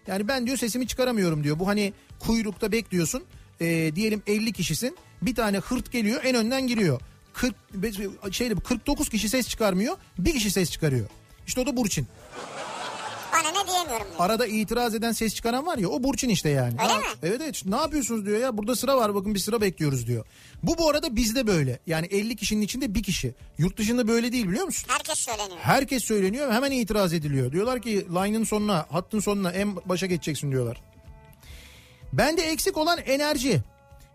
S1: Yani ben diyor sesimi çıkaramıyorum diyor. Bu hani kuyrukta bekliyorsun. E, diyelim 50 kişisin. Bir tane hırt geliyor en önden giriyor. 40 be- şeyde 49 kişi ses çıkarmıyor. Bir kişi ses çıkarıyor. İşte o da Burçin.
S2: Bana ne diyemiyorum diyor.
S1: Arada itiraz eden ses çıkaran var ya o Burçin işte yani.
S2: Öyle
S1: Ha,
S2: mi?
S1: Evet evet ne yapıyorsunuz diyor ya burada sıra var bakın bir sıra bekliyoruz diyor. Bu bu arada bizde böyle yani 50 kişinin içinde bir kişi. Yurt dışında böyle değil biliyor musun?
S2: Herkes söyleniyor.
S1: Herkes söyleniyor ve hemen itiraz ediliyor. Diyorlar ki line'ın sonuna hattın sonuna en başa geçeceksin diyorlar. Bende eksik olan enerji.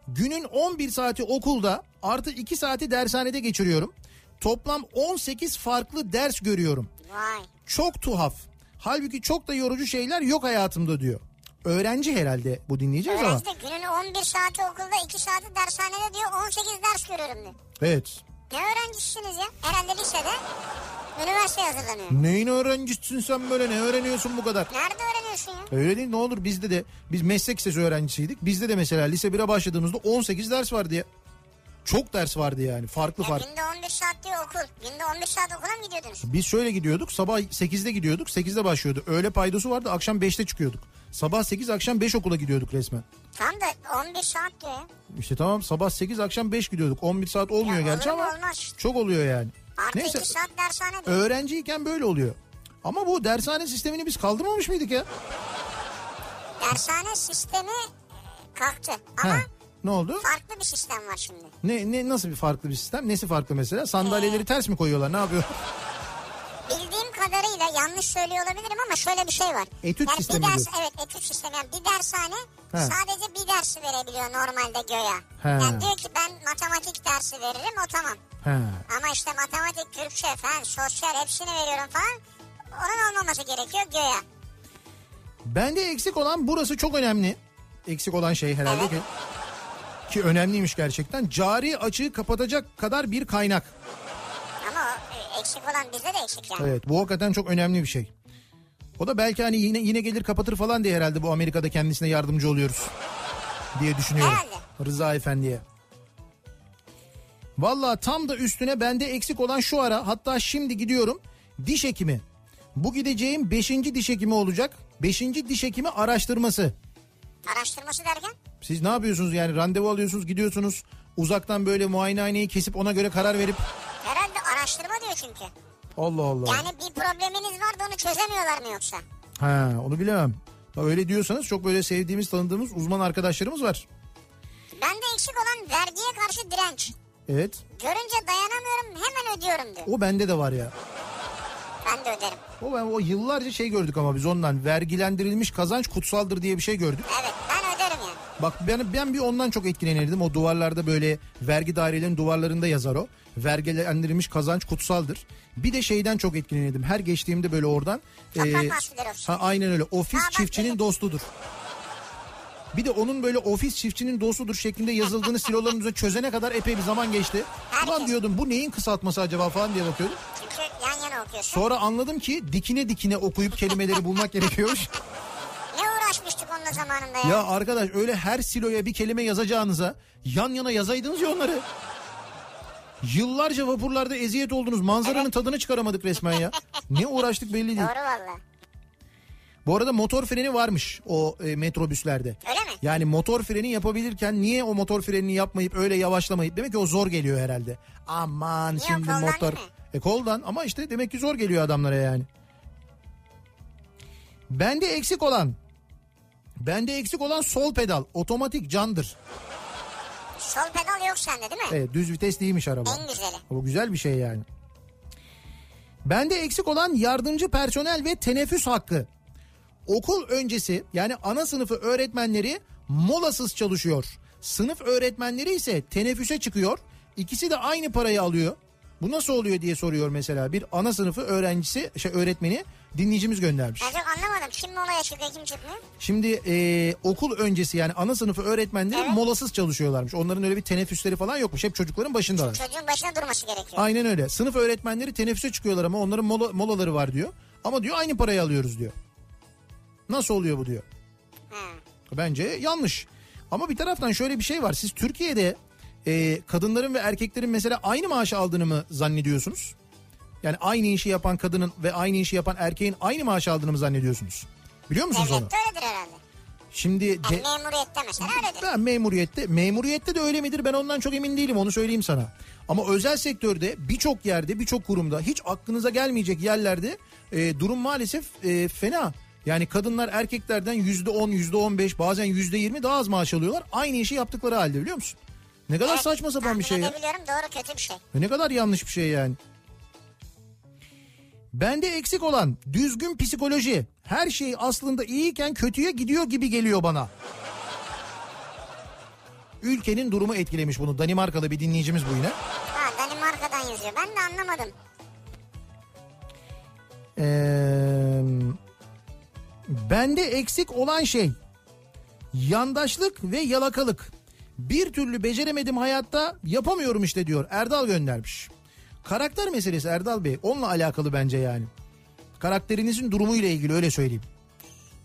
S1: Günün 11 saati okulda artı 2 saati dershanede geçiriyorum. Toplam 18 farklı ders görüyorum.
S2: Vay.
S1: Çok tuhaf. Halbuki çok da yorucu şeyler yok hayatımda diyor. Öğrenci herhalde bu dinleyeceğiz ama.
S2: Öğrenci de günün 11 saati okulda 2 saati dershanede diyor 18 ders görüyorum diyor.
S1: Evet.
S2: Ne öğrencisiniz ya? Herhalde lisede üniversiteye hazırlanıyor.
S1: Neyin öğrencisin sen böyle ne öğreniyorsun bu kadar?
S2: Nerede öğreniyorsun ya?
S1: Öyle değil ne olur bizde de biz meslek lisesi öğrencisiydik. Bizde de mesela lise 1'e başladığımızda 18 ders vardı ya. Çok ders vardı yani farklı
S2: ya
S1: farklı.
S2: günde 11 saat diyor okul. Günde 11 saat okula mı gidiyordunuz?
S1: Biz şöyle gidiyorduk sabah 8'de gidiyorduk 8'de başlıyordu. Öğle paydosu vardı akşam 5'te çıkıyorduk. Sabah 8 akşam 5 okula gidiyorduk resmen.
S2: Tam da 11 saat diyor ya.
S1: İşte tamam sabah 8 akşam 5 gidiyorduk. 11 saat olmuyor
S2: Ya
S1: gerçi
S2: olur mu,
S1: ama
S2: olmaz.
S1: çok oluyor yani.
S2: Artı
S1: Neyse
S2: 2 saat dershane diyor.
S1: öğrenciyken böyle oluyor. Ama bu dershane sistemini biz kaldırmamış mıydık ya?
S2: Dershane sistemi e, kalktı. Ama
S1: Ha, Ne oldu?
S2: farklı bir sistem var şimdi.
S1: Ne, ne nasıl bir farklı bir sistem? Nesi farklı mesela?
S2: Ee.
S1: Sandalyeleri ters mi koyuyorlar? Ne yapıyor?
S2: Bildiğim kadarıyla yanlış söylüyor olabilirim ama şöyle bir şey var.
S1: Etüt sistemi
S2: bir ders,
S1: diyor.
S2: Evet etüt sistemi. Yani bir dershane
S1: He.
S2: sadece bir dersi verebiliyor normalde göya.
S1: He.
S2: Yani diyor ki ben matematik dersi veririm o tamam.
S1: Ha.
S2: Ama işte matematik, Türkçe, fen, sosyal hepsini veriyorum falan. Onun olmaması gerekiyor göya.
S1: Bende eksik olan burası çok önemli. Eksik olan şey herhalde
S2: Evet.
S1: ki ki önemliymiş gerçekten. Cari açığı kapatacak kadar bir kaynak.
S2: Ama o e, eksik olan bizde de eksik yani.
S1: Evet bu hakikaten çok önemli bir şey. O da belki hani yine yine gelir kapatır falan diye herhalde bu Amerika'da kendisine yardımcı oluyoruz diye düşünüyorum.
S2: Herhalde.
S1: Rıza Efendi'ye. Valla tam da üstüne bende eksik olan şu ara hatta şimdi gidiyorum diş hekimi. Bu gideceğim 5. diş hekimi olacak. 5. diş hekimi araştırması.
S2: Araştırması derken?
S1: Siz ne yapıyorsunuz yani randevu alıyorsunuz gidiyorsunuz uzaktan böyle muayenehaneyi kesip ona göre karar verip
S2: Herhalde araştırma diyor çünkü.
S1: Allah Allah.
S2: Yani bir probleminiz var da onu çözemiyorlar mı yoksa?
S1: Ha onu bilemem. Öyle diyorsanız çok böyle sevdiğimiz tanıdığımız uzman arkadaşlarımız var.
S2: Bende eksik olan vergiye karşı direnç.
S1: Evet.
S2: Görünce dayanamıyorum hemen ödüyorum diyor.
S1: O bende de var ya.
S2: Ben de öderim.
S1: O ben o yıllarca şey gördük ama biz ondan vergilendirilmiş kazanç kutsaldır diye bir şey gördük.
S2: Evet ben öderim yani.
S1: Bak ben ben bir ondan çok etkilenirdim. O duvarlarda böyle vergi dairelerinin duvarlarında yazar o. Vergilendirilmiş kazanç kutsaldır. Bir de şeyden çok etkilenirdim. Her geçtiğimde böyle oradan. e,
S2: Toprak mahsulleri ofisi.
S1: ha, aynen öyle.
S2: Ha,
S1: Ofis
S2: bak
S1: çiftçinin
S2: böyle.
S1: dostudur. Bir de onun böyle ofis çiftçinin dostudur şeklinde yazıldığını siloların üzerine çözene kadar epey bir zaman geçti. Ulan
S2: Herkes.
S1: diyordum bu neyin kısaltması acaba falan diye bakıyordum.
S2: Çünkü yan yana okuyorsun.
S1: Sonra anladım ki dikine dikine okuyup kelimeleri bulmak gerekiyormuş.
S2: Ne uğraşmıştık onunla zamanında ya.
S1: Ya arkadaş öyle her siloya bir kelime yazacağınıza yan yana yazaydınız ya onları. Yıllarca vapurlarda eziyet oldunuz. Manzaranın tadını çıkaramadık resmen ya. Ne uğraştık belli değil.
S2: Doğru valla.
S1: Bu arada motor freni varmış o e, metrobüslerde.
S2: Öyle mi?
S1: Yani motor freni yapabilirken niye o motor frenini yapmayıp öyle yavaşlamayıp demek ki o zor geliyor herhalde. Aman
S2: Niye o
S1: şimdi
S2: koldan
S1: motor.
S2: değil mi?
S1: E koldan ama işte demek ki zor geliyor adamlara yani. Bende eksik olan Bende eksik olan sol pedal otomatik candır.
S2: Sol pedal yok sende değil mi?
S1: Evet düz vites değilmiş araba.
S2: En güzeli.
S1: Bu güzel bir şey yani. Bende eksik olan yardımcı personel ve teneffüs hakkı. Okul öncesi yani ana sınıfı öğretmenleri molasız çalışıyor. Sınıf öğretmenleri ise teneffüse çıkıyor. İkisi de aynı parayı alıyor. Bu nasıl oluyor diye soruyor mesela bir ana sınıfı öğrencisi şey öğretmeni dinleyicimiz göndermiş.
S2: Ben çok anlamadım. Kim molaya çıkıyor kim çıkmıyor?
S1: Şimdi e, okul öncesi yani ana sınıfı öğretmenleri
S2: Evet.
S1: molasız çalışıyorlarmış. Onların öyle bir teneffüsleri falan yokmuş. Hep çocukların başındalar.
S2: Çocuğun başına durması gerekiyor.
S1: Aynen öyle. Sınıf öğretmenleri teneffüse çıkıyorlar ama onların mola- molaları var diyor. Ama diyor aynı parayı alıyoruz diyor. Nasıl oluyor bu diyor.
S2: Ha.
S1: Bence yanlış. Ama bir taraftan şöyle bir şey var. Siz Türkiye'de e, kadınların ve erkeklerin mesela aynı maaşı aldığını mı zannediyorsunuz? Yani aynı işi yapan kadının ve aynı işi yapan erkeğin aynı maaş aldığını mı zannediyorsunuz? Biliyor musunuz onu?
S2: Devlette öyledir herhalde.
S1: Şimdi
S2: Yani
S1: de-
S2: memuriyette mesela öyledir.
S1: ben memuriyette memuriyette de öyle midir ben ondan çok emin değilim onu söyleyeyim sana. Ama özel sektörde birçok yerde birçok kurumda hiç aklınıza gelmeyecek yerlerde e, durum maalesef e, fena. Yani kadınlar erkeklerden yüzde on, yüzde on beş bazen yüzde yirmi daha az maaş alıyorlar. Aynı işi yaptıkları halde biliyor musun? Ne kadar
S2: Evet,
S1: saçma sapan
S2: tahmin
S1: bir şey ya.
S2: edebiliyorum doğru kötü bir şey.
S1: Ve Ne kadar yanlış bir şey yani. Bende eksik olan düzgün psikoloji. Her şey aslında iyiyken kötüye gidiyor gibi geliyor bana. Ülkenin durumu etkilemiş bunu. Danimarkalı bir dinleyicimiz bu yine.
S2: Ha Danimarka'dan yazıyor. Ben de anlamadım.
S1: Ee, bende eksik olan şey yandaşlık ve yalakalık. Bir türlü beceremedim hayatta yapamıyorum işte diyor Erdal göndermiş. Karakter meselesi Erdal Bey onunla alakalı bence yani. Karakterinizin durumuyla ilgili öyle söyleyeyim.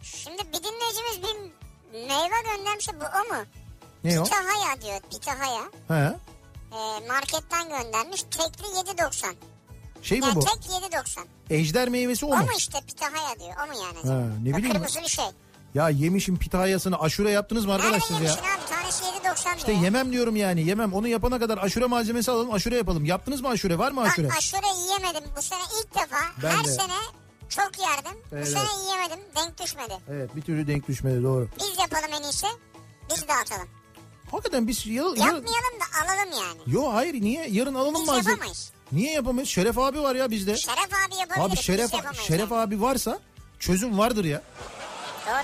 S2: Şimdi bir dinleyicimiz bir meyve göndermiş. Bu o mu?
S1: Ne o?
S2: Pitahaya diyor. Pitahaya.
S1: He.
S2: Ee, marketten göndermiş. Tekli 7.90.
S1: Şey mi
S2: Yani
S1: bu?
S2: tek 7.90.
S1: Ejder meyvesi o
S2: O
S1: mu?
S2: mu işte pitahaya diyor. O mu yani?
S1: Ha, ne
S2: O
S1: bileyim ben.
S2: Kırmızı bir şey.
S1: Ya yemişin pitayasını aşure yaptınız mı
S2: Nerede
S1: arkadaşlar
S2: yemişsin
S1: ya?
S2: abi? Tanesi 7.90
S1: İşte
S2: diyor. ya.
S1: yemem diyorum yani yemem. Onu yapana kadar aşure malzemesi alalım aşure yapalım. Yaptınız mı aşure? Var mı aşure?
S2: Ben aşure yiyemedim. Bu sene ilk defa.
S1: Ben
S2: Her
S1: de.
S2: sene çok yerdim.
S1: Evet.
S2: Bu sene yiyemedim. Denk düşmedi.
S1: Evet bir türlü denk düşmedi doğru.
S2: Biz yapalım en iyisi. Biz dağıtalım.
S1: Hakikaten biz yıl... yıl-
S2: Yapmayalım da alalım yani.
S1: Yo hayır niye? Yarın alalım
S2: Biz
S1: malzeme.
S2: yapamayız.
S1: Niye yapamayız? Şeref abi var ya bizde.
S2: Şeref abi yapabilir.
S1: Abi Şeref
S2: biz yapamayız
S1: Şeref
S2: yani.
S1: abi varsa çözüm vardır ya.
S2: Doğru.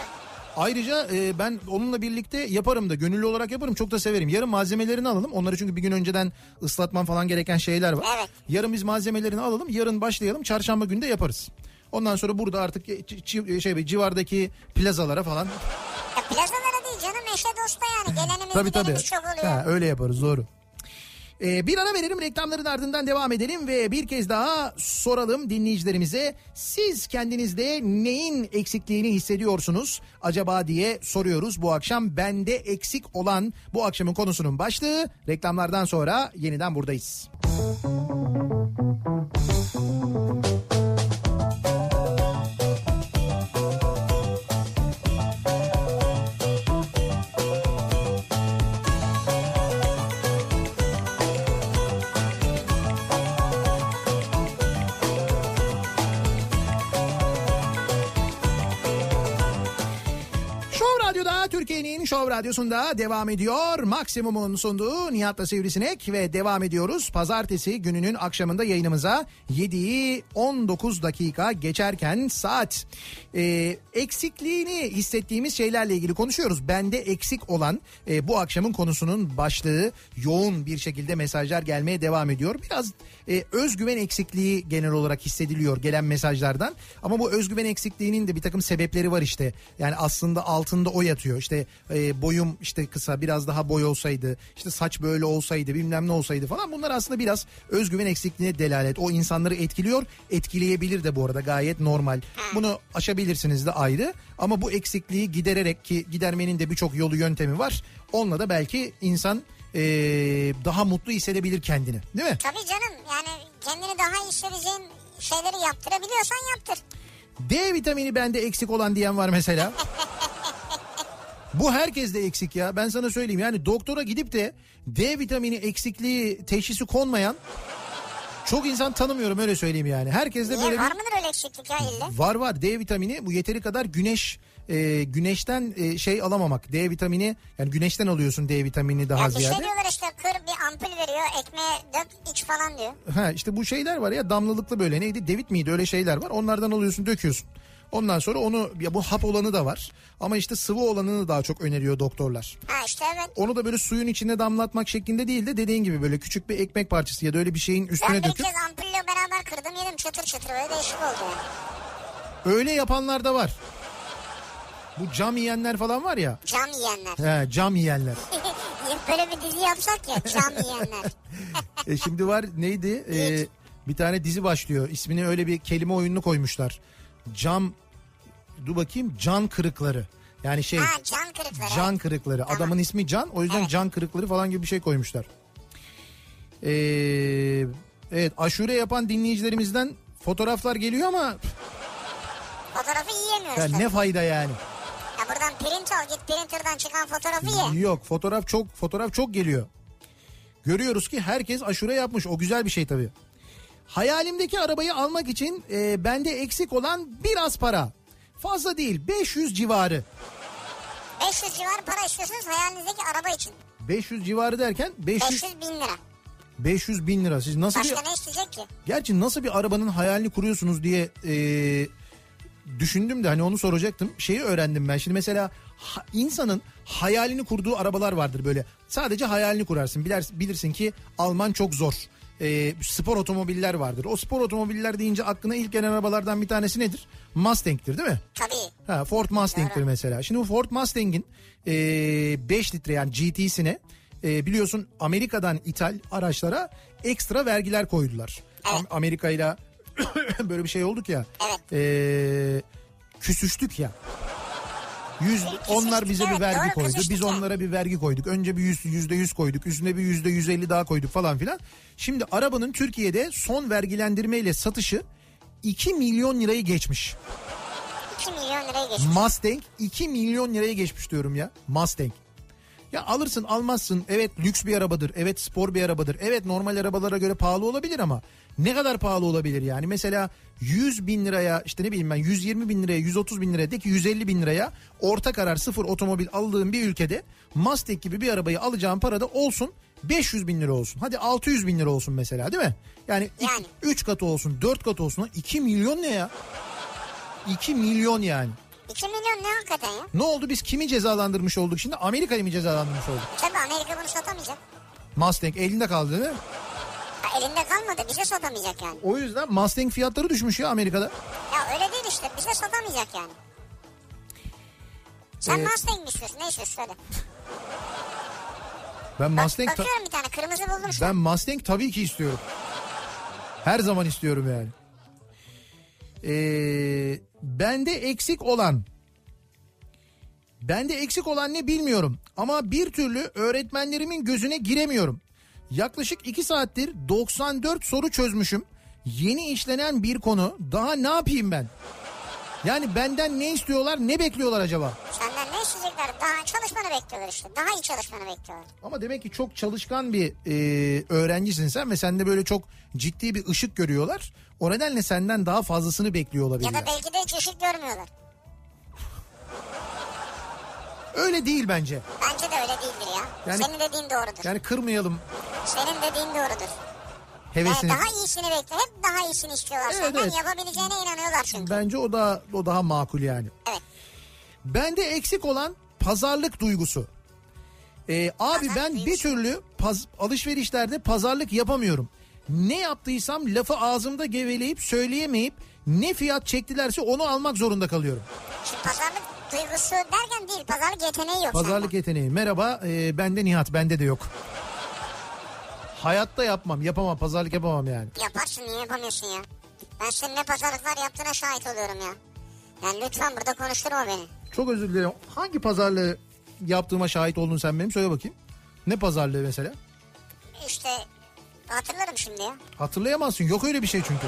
S1: Ayrıca e, ben onunla birlikte yaparım da gönüllü olarak yaparım çok da severim. Yarın malzemelerini alalım. Onları çünkü bir gün önceden ıslatman falan gereken şeyler var.
S2: Evet.
S1: Yarın biz malzemelerini alalım. Yarın başlayalım. Çarşamba günü de yaparız. Ondan sonra burada artık e, ci- ci- şey civardaki plazalara falan.
S2: Ya plazalara değil canım eşe dosta yani. Gelenimiz
S1: Tabii tabii.
S2: gidenimiz çok oluyor.
S1: Ha, öyle yaparız doğru. Ee, bir ara verelim reklamların ardından devam edelim ve bir kez daha soralım dinleyicilerimize siz kendinizde neyin eksikliğini hissediyorsunuz acaba diye soruyoruz bu akşam bende eksik olan bu akşamın konusunun başlığı reklamlardan sonra yeniden buradayız. Show Radyosu'nda devam ediyor. Maksimum'un sunduğu Nihat'la Sivrisinek ve devam ediyoruz. Pazartesi gününün akşamında yayınımıza 7'yi 19 dakika geçerken saat. Ee, eksikliğini hissettiğimiz şeylerle ilgili konuşuyoruz. Bende eksik olan e, bu akşamın konusunun başlığı yoğun bir şekilde mesajlar gelmeye devam ediyor. Biraz e, özgüven eksikliği genel olarak hissediliyor gelen mesajlardan. Ama bu özgüven eksikliğinin de bir takım sebepleri var işte. Yani aslında altında o yatıyor. İşte e, boyum işte kısa biraz daha boy olsaydı işte saç böyle olsaydı bilmem ne olsaydı falan. Bunlar aslında biraz özgüven eksikliğine delalet. O insanları etkiliyor etkileyebilir de bu arada gayet normal. Bunu aşabilirsiniz de ayrı. Ama bu eksikliği gidererek ki gidermenin de birçok yolu yöntemi var. Onunla da belki insan e, daha mutlu hissedebilir kendini değil mi?
S2: Tabii canım yani kendini daha iyi hissedeceğin şeyleri yaptırabiliyorsan yaptır.
S1: D vitamini bende eksik olan diyen var mesela. Bu herkes de eksik ya. Ben sana söyleyeyim. Yani doktora gidip de D vitamini eksikliği teşhisi konmayan çok insan tanımıyorum öyle söyleyeyim yani. Herkes de
S2: Niye
S1: böyle bir
S2: var mıdır öyle eksiklik ya illa?
S1: var var D vitamini bu yeteri kadar güneş e, güneşten e, şey alamamak. D vitamini yani güneşten alıyorsun D vitamini daha
S2: Ya bir şey
S1: ziyade.
S2: diyorlar işte kır bir ampul veriyor ekmeğe dök iç falan diyor.
S1: Ha işte bu şeyler var ya damlalıklı böyle neydi devit miydi öyle şeyler var. Onlardan alıyorsun döküyorsun. Ondan sonra onu ya bu hap olanı da var. Ama işte sıvı olanını daha çok öneriyor doktorlar.
S2: Ha işte evet.
S1: Onu da böyle suyun içine damlatmak şeklinde değil de dediğin gibi böyle küçük bir ekmek parçası ya da öyle bir şeyin
S2: Ben
S1: üstüne
S2: bir
S1: döküp
S2: kez ampulle beraber kırdım yedim çıtır çıtır böyle değişik oldu yani.
S1: öyle yapanlar da var. Bu cam yiyenler falan var ya.
S2: Cam yiyenler.
S1: He, cam yiyenler.
S2: böyle bir dizi yapsak ya cam yiyenler.
S1: E şimdi var neydi? E, bir tane dizi başlıyor. İsmini öyle bir kelime oyununu koymuşlar. Cam dur bakayım can kırıkları. Yani şey
S2: Ha cam kırıkları.
S1: can kırıkları. Adamın ismi Can. O yüzden can kırıkları falan gibi bir şey koymuşlar. Ee, evet aşure yapan dinleyicilerimizden fotoğraflar geliyor ama
S2: Fotoğrafı yiyemiyoruz
S1: yani
S2: tabii.
S1: ne fayda yani?
S2: Ya buradan print al git printer'dan çıkan fotoğrafı ye.
S1: Yok fotoğraf çok fotoğraf çok geliyor. Görüyoruz ki herkes aşure yapmış. O güzel bir şey tabii. Hayalimdeki arabayı almak için e, bende eksik olan biraz para. Fazla değil 500 civarı.
S2: 500 civarı para istiyorsunuz hayalinizdeki araba için.
S1: 500 civarı derken 500
S2: 500 bin lira.
S1: 500 bin lira. Siz nasıl bir
S2: Başka ne isteyecek ki?
S1: gerçi nasıl bir arabanın hayalini kuruyorsunuz diye e, düşündüm de hani onu soracaktım. Şeyi öğrendim ben. Şimdi mesela ha- insanın hayalini kurduğu arabalar vardır böyle. Sadece hayalini kurarsın. Bilersin, bilirsin ki Alman çok zor. E, spor otomobiller vardır. O spor otomobiller deyince aklına ilk gelen arabalardan bir tanesi nedir? Mustang'tir değil mi?
S2: Tabii.
S1: Ha, Ford Mustang'tir
S2: Doğru.
S1: mesela. Şimdi bu Ford Mustang'in 5 litre yani GT'sine e, biliyorsun Amerika'dan ithal araçlara ekstra vergiler koydular.
S2: Evet.
S1: Am- Amerika ile böyle bir şey olduk ya.
S2: Evet.
S1: E, küsüştük ya. Yüz, onlar bize bir
S2: evet,
S1: vergi
S2: doğru,
S1: koydu. Biz
S2: küsüştük ya.
S1: onlara bir vergi koyduk. Önce bir yüz- yüzde yüz koyduk. Üstüne bir yüzde yüz elli daha koyduk falan filan. Şimdi arabanın Türkiye'de son vergilendirmeyle satışı 2 milyon lirayı geçmiş.
S2: 2 milyon liraya geçmiş.
S1: Mustang 2 milyon liraya geçmiş diyorum ya. Mustang. Ya alırsın almazsın evet lüks bir arabadır evet spor bir arabadır evet normal arabalara göre pahalı olabilir ama ne kadar pahalı olabilir yani mesela 100 bin liraya işte ne bileyim ben 120 bin liraya 130 bin liraya de ki 150 bin liraya orta karar sıfır otomobil aldığın bir ülkede Mustang gibi bir arabayı alacağın parada olsun 500 bin lira olsun hadi 600 bin lira olsun mesela değil mi? Yani,
S2: Yani.
S1: 3 katı olsun 4 katı olsun 2 milyon ne ya? 2 milyon yani.
S2: 2 milyon ne hakikaten ya?
S1: Ne oldu biz kimi cezalandırmış olduk şimdi? Amerika'yı mı cezalandırmış olduk?
S2: E Tabii Amerika bunu satamayacak.
S1: Mustang elinde kaldı değil mi?
S2: Ha, elinde kalmadı bize satamayacak yani.
S1: O yüzden Mustang fiyatları düşmüş ya Amerika'da.
S2: Ya öyle değil işte bize satamayacak yani. Sen
S1: Ee,
S2: Mustang mi istiyorsun? Ne istiyorsun? Söyle.
S1: Ben
S2: Bak,
S1: Mustang ta-
S2: bakıyorum bir tane kırmızı buldum şu an.
S1: ben Mustang tabii ki istiyorum. Her zaman istiyorum yani. Ee, bende eksik olan Bende eksik olan ne bilmiyorum ama bir türlü öğretmenlerimin gözüne giremiyorum. Yaklaşık 2 saattir 94 soru çözmüşüm. Yeni işlenen bir konu. Daha ne yapayım ben? Yani benden ne istiyorlar, ne bekliyorlar acaba?
S2: Senden ne isteyecekler? Daha çalışmanı bekliyorlar işte. Daha iyi çalışmanı bekliyorlar.
S1: Ama demek ki çok çalışkan bir e, öğrencisin sen ve sende böyle çok ciddi bir ışık görüyorlar. O nedenle senden daha fazlasını bekliyor
S2: Ya
S1: olabilirler.
S2: da belki de hiç ışık görmüyorlar.
S1: Öyle değil bence.
S2: Bence de öyle değildir ya.
S1: Yani-
S2: Senin dediğin doğrudur.
S1: Yani kırmayalım
S2: Senin dediğin doğrudur. Yani
S1: hevesini.
S2: daha iyisini bekle. Hep daha iyisini istiyorlar
S1: Evet,
S2: senden.
S1: evet.
S2: Yapabileceğine inanıyorlar çünkü.
S1: Bence o da o daha makul yani.
S2: Evet.
S1: Bende eksik olan pazarlık duygusu. Ee, abi
S2: Pazarlık
S1: ben bir
S2: duygusu.
S1: türlü paz- alışverişlerde pazarlık yapamıyorum. Ne yaptıysam lafı ağzımda geveleyip söyleyemeyip ne fiyat çektilerse onu almak zorunda kalıyorum.
S2: Şimdi pazarlık duygusu derken değil. Pazarlık yeteneği yok.
S1: Pazarlık yeteneği. Merhaba e, bende Nihat bende de yok. Hayatta yapmam yapamam pazarlık yapamam yani.
S2: sende. Yaparsın niye yapamıyorsun ya? Ben senin ne pazarlıklar yaptığına şahit oluyorum ya. Yani lütfen burada konuşturma beni.
S1: Çok özür dilerim. Hangi pazarlığı yaptığıma şahit oldun sen benim söyle bakayım. Ne pazarlığı mesela?
S2: İşte hatırlarım şimdi ya.
S1: Hatırlayamazsın. Yok öyle bir şey çünkü.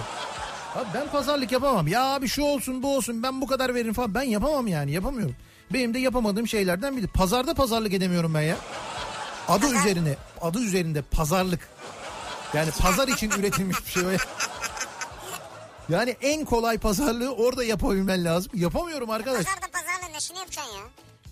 S1: Abi ben pazarlık yapamam. Ya abi şu olsun bu olsun ben bu kadar veririm falan. Ben yapamam yani yapamıyorum. Benim de yapamadığım şeylerden biri. Pazarda pazarlık edemiyorum ben ya. Adı üzerine adı üzerinde pazarlık. Yani pazar için üretilmiş bir şey. o ya. Yani en kolay pazarlığı orada yapabilmen lazım. Yapamıyorum arkadaş.
S2: Pazarda pazarlığın neşini yapacaksın ya.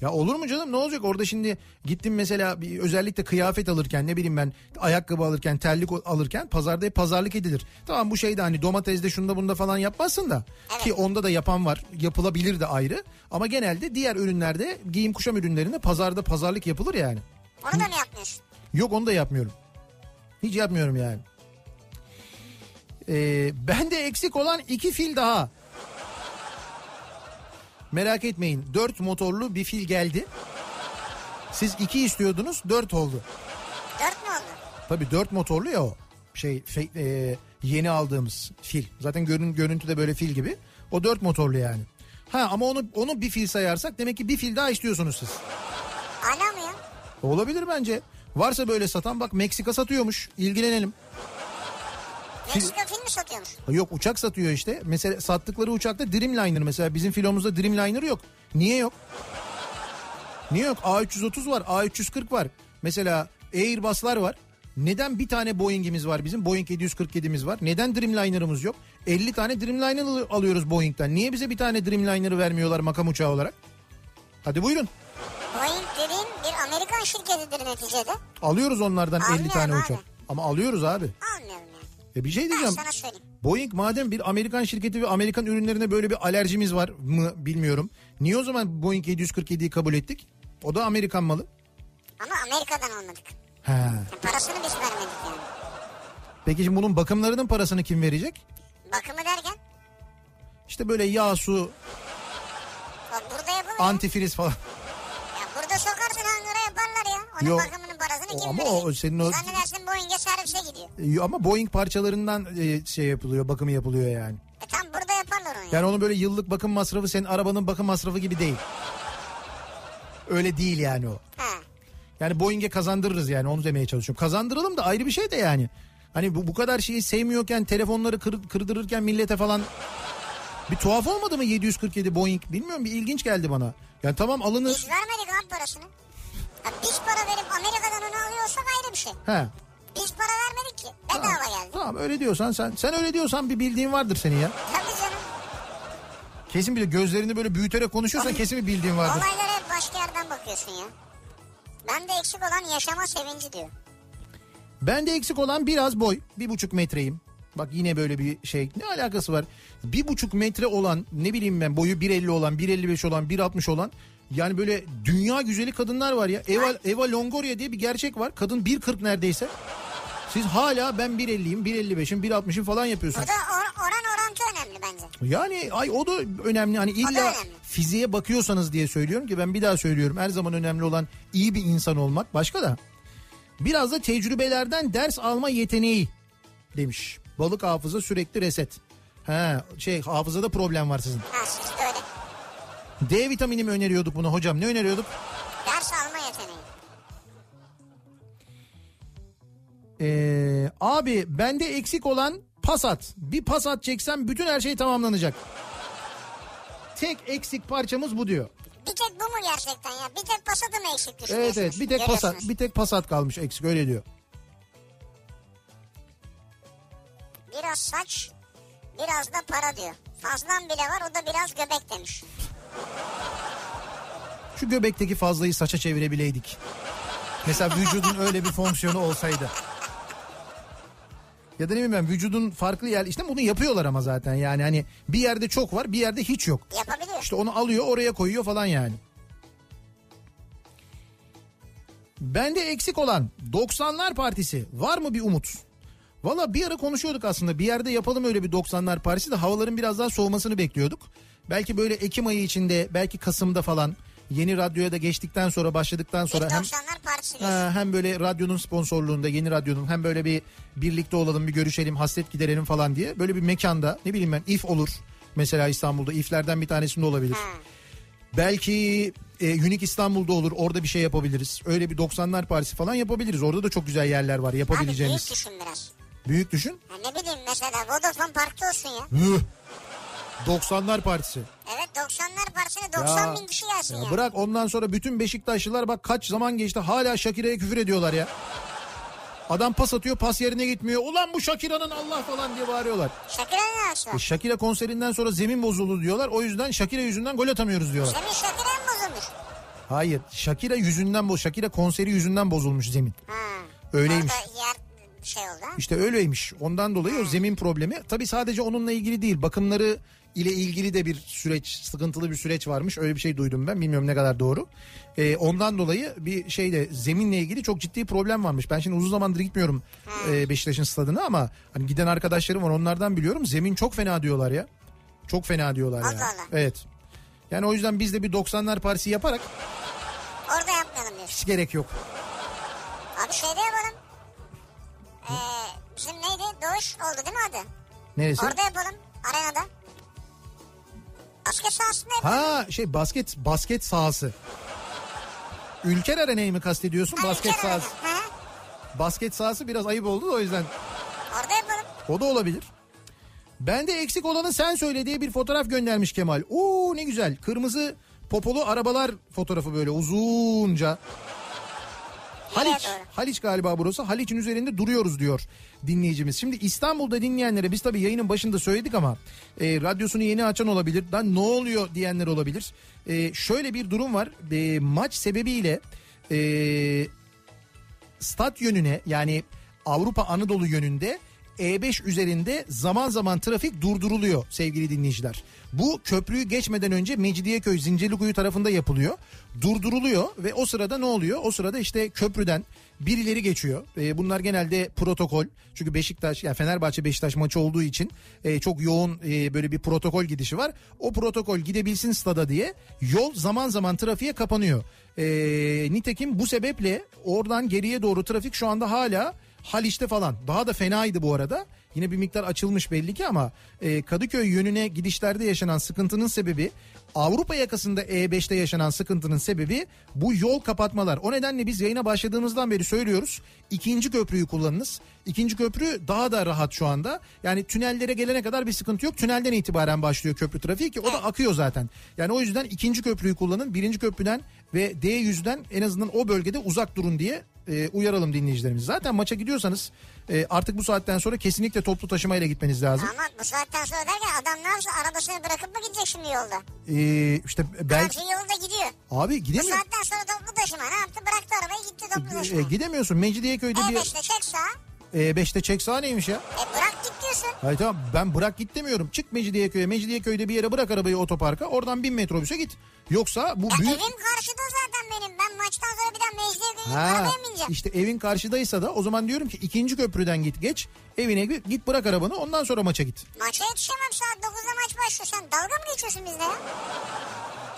S1: Ya olur mu canım ne olacak orada şimdi gittim mesela bir, özellikle kıyafet alırken ne bileyim ben ayakkabı alırken terlik o- alırken pazarda hep pazarlık edilir. Tamam bu şeyde hani domatesde şunda bunda falan yapmazsın da
S2: Evet.
S1: ki onda da yapan var yapılabilir de ayrı ama genelde diğer ürünlerde giyim kuşam ürünlerinde pazarda pazarlık yapılır yani.
S2: Onu da mı yapmıyorsun?
S1: Yok onu da yapmıyorum. Hiç yapmıyorum yani. Ee, bende eksik olan iki fil daha. Merak etmeyin dört motorlu bir fil geldi. Siz iki istiyordunuz dört oldu.
S2: Dört mü oldu?
S1: Tabii dört motorlu ya o şey fe- e, yeni aldığımız fil. Zaten görün, görüntüde böyle fil gibi. O dört motorlu yani. Ha ama onu onu bir fil sayarsak demek ki bir fil daha istiyorsunuz siz.
S2: Hala mı ya?
S1: Olabilir bence. Varsa böyle satan bak Meksika satıyormuş. İlgilenelim.
S2: Meksika film mi satıyormuş?
S1: Yok uçak satıyor işte. Mesela sattıkları uçakta Dreamliner mesela. Bizim filomuzda Dreamliner yok. Niye yok? Niye yok? A330 var, A340 var. Mesela Airbus'lar var. Neden bir tane Boeing'imiz var bizim? Boeing 747'miz var. Neden Dreamliner'ımız yok? 50 tane Dreamliner al- alıyoruz Boeing'den. Niye bize bir tane Dreamliner'ı vermiyorlar makam uçağı olarak? Hadi buyurun.
S2: Boeing dediğin bir Amerikan şirketidir neticede.
S1: Alıyoruz onlardan 50 tane
S2: Almıyorum
S1: uçak.
S2: abi.
S1: Ama alıyoruz abi.
S2: Almıyorum yani.
S1: E bir şey
S2: Ben
S1: diyeceğim.
S2: sana söyleyeyim.
S1: Boeing madem bir Amerikan şirketi ve Amerikan ürünlerine böyle bir alerjimiz var mı bilmiyorum. Niye o zaman Boeing 747'yi kabul ettik? O da Amerikan malı.
S2: Ama Amerika'dan almadık.
S1: He.
S2: Yani parasını biz vermedik yani.
S1: Peki şimdi bunun bakımlarının parasını kim verecek?
S2: Bakımı derken
S1: İşte böyle yağ, su,
S2: bak burada yapılıyor.
S1: antifriz falan.
S2: Ya burada sokarsın hangara yaparlar ya. Onun
S1: Yok.
S2: bakımının parasını
S1: O
S2: kim
S1: ama
S2: verecek?
S1: o senin o-
S2: Zannedersin Boeing'e servise gidiyor.
S1: E, Ama Boeing parçalarından e, şey yapılıyor, bakımı yapılıyor yani.
S2: E tam burada yaparlar onu ya.
S1: Yani onun böyle yıllık bakım masrafı senin arabanın bakım masrafı gibi değil. Öyle değil yani o.
S2: Ha.
S1: Yani Boeing'e kazandırırız yani onu demeye çalışıyorum. Kazandıralım da ayrı bir şey de yani. Hani bu, bu kadar şeyi sevmiyorken telefonları kır- kırdırırken millete falan bir tuhaf olmadı mı 747 Boeing bilmiyorum bir ilginç geldi bana. Yani tamam alınır.
S2: Biz vermedik abi parasını. Ya biz para verip Amerika'dan onu alıyorsak ayrı bir şey.
S1: He.
S2: Biz para vermedik ki. Bedava geldi.
S1: Tamam öyle diyorsan sen sen öyle diyorsan bir bildiğin vardır senin ya.
S2: Tabii canım.
S1: Kesin bir de gözlerini böyle büyüterek konuşuyorsan kesin bir bildiğin vardır.
S2: Olaylara hep başka yerden bakıyorsun ya. Ben de eksik olan yaşama sevinci diyor.
S1: Bende eksik olan biraz boy. Bir buçuk metreyim. Bak yine böyle bir şey. Ne alakası var? Bir buçuk metre olan ne bileyim ben boyu 1.50 olan, 1.55 olan, 1.60 olan yani böyle dünya güzeli kadınlar var ya. Eva, Eva Longoria diye bir gerçek var. Kadın 1.40 neredeyse. Siz hala ben 1.50'yim, 1.55'im, 1.60'ım falan yapıyorsunuz.
S2: Burada or- oran orantı önemli bence.
S1: Yani ay o da önemli. Hani
S2: O
S1: illa
S2: da önemli.
S1: fiziğe bakıyorsanız diye söylüyorum ki ben bir daha söylüyorum. Her zaman önemli olan iyi bir insan olmak başka da. Biraz da tecrübelerden ders alma yeteneği demiş. Balık hafıza sürekli reset. He, şey hafızada problem var sizin.
S2: Ha siz de öyle.
S1: D vitamini mi öneriyorduk bunu hocam? Ne öneriyorduk?
S2: Ders alma yeteneği.
S1: Ee, abi bende eksik olan Passat. Bir Passat çeksem bütün her şey tamamlanacak. Tek eksik parçamız bu diyor.
S2: Bir tek bu mu gerçekten ya? Bir tek pasatı mı eksik
S1: Evet
S2: düşünüyorsunuz?
S1: evet bir tek
S2: Görüyorsunuz.
S1: pasat bir tek pasat kalmış eksik öyle diyor.
S2: Biraz saç, biraz da para diyor. Fazlan bile var o da biraz göbek demiş.
S1: Şu göbekteki fazlayı saça çevirebileydik. Mesela vücudun öyle bir fonksiyonu olsaydı. Ya da ne bileyim ben vücudun farklı yer işte bunu yapıyorlar ama zaten yani hani bir yerde çok var bir yerde hiç yok.
S2: Yapabiliyor.
S1: İşte onu alıyor oraya koyuyor falan yani. Bende eksik olan 90'lar partisi var mı bir umut? Valla bir ara konuşuyorduk aslında bir yerde yapalım öyle bir 90'lar partisi de havaların biraz daha soğumasını bekliyorduk. Belki böyle Ekim ayı içinde belki Kasım'da falan yeni radyoya da geçtikten sonra başladıktan
S2: Bir
S1: sonra hem
S2: 90'lar partisi diyorsun.
S1: Ha, Ee, hem böyle radyonun sponsorluğunda yeni radyonun hem böyle bir birlikte olalım bir görüşelim hasret giderelim falan diye böyle bir mekanda ne bileyim ben if olur mesela İstanbul'da iflerden bir tanesinde olabilir. Belki e, Unique İstanbul'da olur orada bir şey yapabiliriz. Öyle bir 90'lar partisi falan yapabiliriz. Orada da çok güzel yerler var
S2: Abi büyük
S1: yapabileceğimiz.
S2: düşün biraz.
S1: büyük düşün.
S2: Ya ne bileyim mesela Vodafone Park'ta olsun ya.
S1: Üh! 90'lar partisi.
S2: Evet 90'lar partisine 90 bin kişi gelsin ya.
S1: Ya bırak ondan sonra bütün Beşiktaşlılar bak kaç zaman geçti hala Şakira'ya küfür ediyorlar ya. Adam pas atıyor pas yerine gitmiyor. Ulan bu Şakira'nın Allah falan diye bağırıyorlar.
S2: Şakir'e ne yapsın?
S1: E Şakira konserinden sonra zemin bozuldu diyorlar. O yüzden Şakira yüzünden gol atamıyoruz diyorlar.
S2: Senin Şakir'e mi bozulmuş?
S1: Hayır Şakira yüzünden bu Şakira konseri yüzünden bozulmuş zemin.
S2: Ha.
S1: Öyleymiş.
S2: Orada yer şey oldu ha.
S1: İşte öyleymiş. Ondan
S2: Hmm.
S1: dolayı o zemin problemi. Tabii sadece onunla ilgili değil. Bakımları ile ilgili de bir süreç, sıkıntılı bir süreç varmış. Öyle bir şey duydum ben. Bilmiyorum ne kadar doğru. Ee, ondan dolayı bir şeyde zeminle ilgili çok ciddi problem varmış. Ben şimdi uzun zamandır gitmiyorum
S2: Hmm.
S1: e, Beşiktaş'ın stadına ama hani giden arkadaşlarım var. Onlardan biliyorum. Zemin çok fena diyorlar ya. Çok fena diyorlar
S2: Allah
S1: yani.
S2: Allah.
S1: Evet. Yani o yüzden biz de bir 90'lar partisi yaparak şey-
S2: Orada yapmayalım diyorsun.
S1: hiç gerek yok.
S2: Abi şeyde yapalım. Ee, bizim neydi? Doğuş oldu değil mi adı?
S1: Neresi?
S2: Orada yapalım. Arenada. Asker sahasında yapalım.
S1: Ha şey basket basket sahası. Ülker Arena'yı mı kastediyorsun?
S2: Ha,
S1: basket
S2: ülke arada.
S1: sahası.
S2: Ha,
S1: Basket sahası biraz ayıp oldu da o yüzden
S2: Orada yapalım.
S1: o da olabilir. Bende eksik olanı sen söyle diye bir fotoğraf göndermiş Kemal. Oo ne güzel. Kırmızı popolu arabalar fotoğrafı böyle uzunca. Haliç.
S2: doğru.
S1: Haliç galiba burası. Haliç'in üzerinde duruyoruz diyor dinleyicimiz. Şimdi İstanbul'da dinleyenlere biz tabii yayının başında söyledik ama e, radyosunu yeni açan olabilir. Lan ne oluyor diyenler olabilir. E, şöyle bir durum var. E, maç sebebiyle e, stat yönüne yani Avrupa Anadolu yönünde E5 üzerinde zaman zaman trafik durduruluyor sevgili dinleyiciler. Bu köprüyü geçmeden önce Mecidiyeköy Zincirlikuyu tarafında yapılıyor. Durduruluyor ve o sırada ne oluyor? O sırada işte köprüden birileri geçiyor. Ee, bunlar genelde protokol. Çünkü Beşiktaş yani Fenerbahçe Beşiktaş maçı olduğu için e, çok yoğun e, böyle bir protokol gidişi var. O protokol gidebilsin stada diye yol zaman zaman trafiğe kapanıyor. E, nitekim bu sebeple oradan geriye doğru trafik şu anda hala Haliç'te falan. Daha da fenaydı bu arada. Yine bir miktar açılmış belli ki ama e, Kadıköy yönüne gidişlerde yaşanan sıkıntının sebebi Avrupa yakasında E5'te yaşanan sıkıntının sebebi bu yol kapatmalar. O nedenle biz yayına başladığımızdan beri söylüyoruz. ikinci köprüyü kullanınız. İkinci köprü daha da rahat şu anda. Yani tünellere gelene kadar bir sıkıntı yok. Tünelden itibaren başlıyor köprü trafiği ki o da akıyor zaten. Yani o yüzden ikinci köprüyü kullanın. Birinci köprüden ve D100'den en azından o bölgede uzak durun diye e, uyaralım dinleyicilerimizi. Zaten maça gidiyorsanız e, artık bu saatten sonra kesinlikle toplu taşımayla gitmeniz lazım.
S2: Ama bu saatten sonra derken adam ne yapsın? Arabasını bırakıp mı gidecek şimdi yolda?
S1: E, işte belki
S2: Belki yolda gidiyor.
S1: abi
S2: Bu
S1: gidemiyor.
S2: saatten sonra toplu taşıma ne yaptı? Bıraktı arabayı gitti
S1: E,
S2: toplu taşıma.
S1: gidemiyorsun. Mecidiyeköy'de bir
S2: E5'te çek sağa.
S1: e, beşte çek sağa neymiş ya?
S2: E bırak git diyorsun.
S1: Hayır tamam ben bırak git demiyorum. Çık Mecidiyeköy'e. Mecidiyeköy'de bir yere bırak arabayı otoparka. Oradan bin metrobüse git. Yoksa bu
S2: Ya
S1: büyük...
S2: evim karşıda zaten benim. Ben maçtan sonra bir daha mecliye gidip
S1: Ha,
S2: arabaya bineceğim.
S1: işte evin karşıdaysa da o zaman diyorum ki ikinci köprüden git geç. Evine git, git bırak arabanı ondan sonra maça git.
S2: Maça yetişemem saat 9'da maç başlıyor. Sen dalga mı geçiyorsun bizle ya?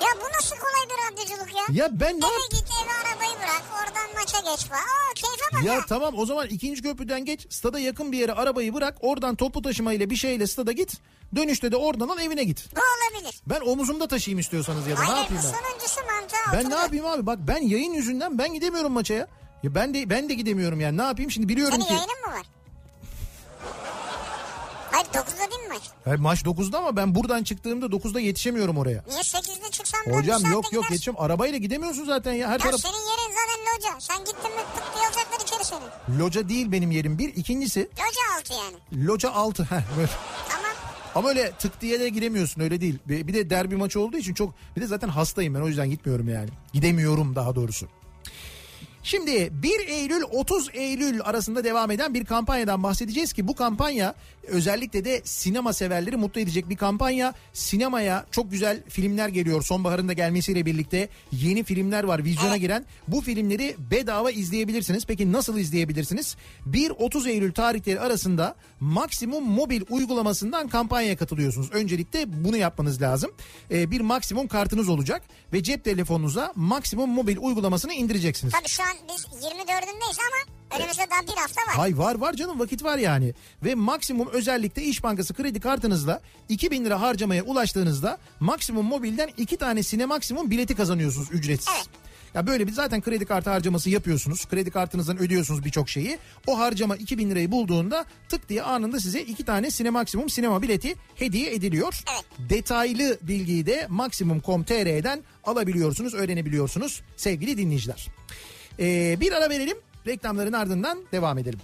S2: Ya bu nasıl kolay bir radyoculuk ya?
S1: Ya ben ne
S2: Eve git eve arabayı bırak oradan maça geç falan. Aa keyfe bak ya.
S1: Ya tamam o zaman ikinci köprüden geç stada yakın bir yere arabayı bırak oradan toplu taşıma ile bir şeyle stada git dönüşte de oradan al evine git.
S2: Bu olabilir.
S1: Ben omuzumda taşıyayım istiyorsanız ya da ne
S2: Hayır bu
S1: yapayım ben?
S2: sonuncusu mantığa
S1: Ben ne
S2: oturdu.
S1: yapayım abi bak ben yayın yüzünden ben gidemiyorum maça ya. Ya ben de ben de gidemiyorum yani ne yapayım şimdi biliyorum
S2: Senin
S1: ki.
S2: yayının mı var? Hayır 9'da değil mi maç?
S1: Ya maç 9'da ama ben buradan çıktığımda 9'da yetişemiyorum oraya.
S2: Niye 8'de çıksan böyle bir
S1: Hocam
S2: saatte
S1: yok yok
S2: gidersin?
S1: yetişem arabayla gidemiyorsun zaten ya her
S2: Ya
S1: taraf
S2: senin yerin zaten loca. Sen gittin mi pıt diye alacaklar içeri seni.
S1: loca değil benim yerim bir ikincisi
S2: Loca altı yani.
S1: loca altı Heh, böyle.
S2: Tamam.
S1: Ama öyle tık diye de giremiyorsun öyle değil. Bir bir de derbi maçı olduğu için çok bir de zaten hastayım ben o yüzden gitmiyorum yani. Gidemiyorum daha doğrusu. Şimdi 1 Eylül 30 Eylül arasında devam eden bir kampanyadan bahsedeceğiz ki bu kampanya özellikle de sinema severleri mutlu edecek bir kampanya. Sinemaya çok güzel filmler geliyor sonbaharın da gelmesiyle birlikte yeni filmler var vizyona giren. Bu filmleri bedava izleyebilirsiniz. Peki nasıl izleyebilirsiniz? 1-30 Eylül tarihleri arasında Maksimum Mobil uygulamasından kampanyaya katılıyorsunuz. Öncelikle bunu yapmanız lazım. Ee, bir maksimum kartınız olacak ve cep telefonunuza Maksimum Mobil uygulamasını indireceksiniz.
S2: Tabii şu an biz 24'ündeyiz ama önümüzde daha bir hafta var.
S1: Hay var var canım vakit var yani. Ve maksimum özellikle İş Bankası kredi kartınızla 2000 lira harcamaya ulaştığınızda maksimum mobilden 2 tane sine maksimum bileti kazanıyorsunuz ücretsiz.
S2: Evet.
S1: Ya böyle bir zaten kredi kartı harcaması yapıyorsunuz. Kredi kartınızdan ödüyorsunuz birçok şeyi. O harcama 2000 lirayı bulduğunda tık diye anında size iki tane sine maksimum sinema bileti hediye ediliyor.
S2: Evet.
S1: Detaylı bilgiyi de maksimum.com.tr'den alabiliyorsunuz, öğrenebiliyorsunuz sevgili dinleyiciler. Ee, bir ara verelim. Reklamların ardından devam edelim.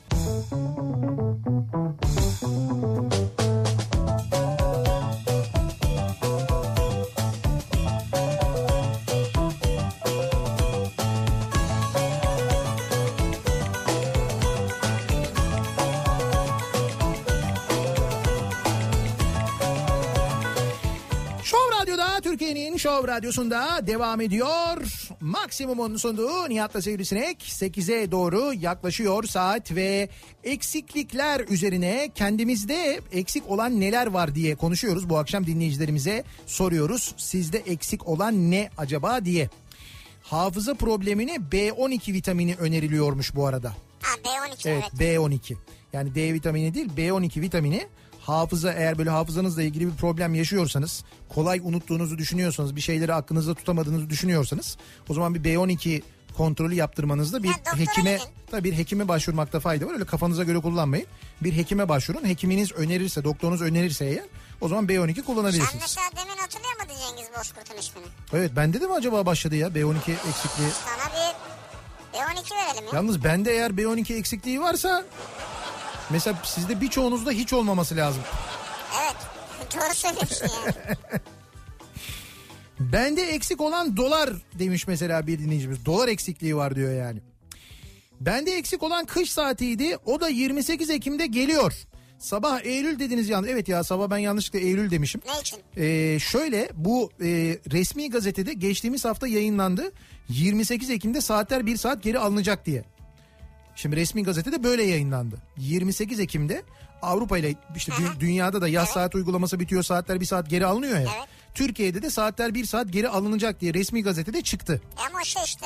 S1: Şov Radyo'da Türkiye'nin Şov Radyosu'nda devam ediyor. Maksimum'un sunduğu Nihat'la Sivrisinek 8'e doğru yaklaşıyor saat ve eksiklikler üzerine kendimizde eksik olan neler var diye konuşuyoruz. Bu akşam dinleyicilerimize soruyoruz. Sizde eksik olan ne acaba diye. Hafıza problemine B12 vitamini öneriliyormuş bu arada.
S2: Ha B12
S1: Evet,
S2: evet.
S1: B12. Yani D vitamini değil B12 vitamini hafıza eğer böyle hafızanızla ilgili bir problem yaşıyorsanız kolay unuttuğunuzu düşünüyorsanız bir şeyleri aklınızda tutamadığınızı düşünüyorsanız o zaman bir B12 kontrolü yaptırmanızda bir
S2: Ya doktora
S1: hekime
S2: gidin.
S1: tabii bir hekime başvurmakta fayda var. Öyle kafanıza göre kullanmayın. Bir hekime başvurun. Hekiminiz önerirse, doktorunuz önerirse eğer o zaman B12
S2: Sen
S1: kullanabilirsiniz.
S2: mesela demin hatırlıyor musun Cengiz Bozkurt'un ismini?
S1: Evet bende de mi acaba başladı ya B12 eksikliği?
S2: Sana bir B12 verelim ya.
S1: Yalnız bende eğer B12 eksikliği varsa mesela sizde birçoğunuzda hiç olmaması lazım.
S2: Evet. Doğru söylüyorsun yani.
S1: Bende eksik olan dolar demiş mesela bir dinleyicimiz. Dolar eksikliği var diyor yani. Bende eksik olan kış saatiydi. O da 28 Ekim'de geliyor. Sabah Eylül dediniz yalnız. Evet ya sabah ben yanlışlıkla Eylül demişim.
S2: Ne için?
S1: Ee, şöyle bu e, resmi gazetede geçtiğimiz hafta yayınlandı. 28 Ekim'de saatler bir saat geri alınacak diye. Şimdi resmi gazetede böyle yayınlandı. 28 Ekim'de Avrupa ile işte dü- dünyada da yaz saat uygulaması bitiyor saatler bir saat geri alınıyor ya.
S2: Evet.
S1: Türkiye'de de saatler bir saat geri alınacak diye resmi gazetede çıktı.
S2: E Ama şey işte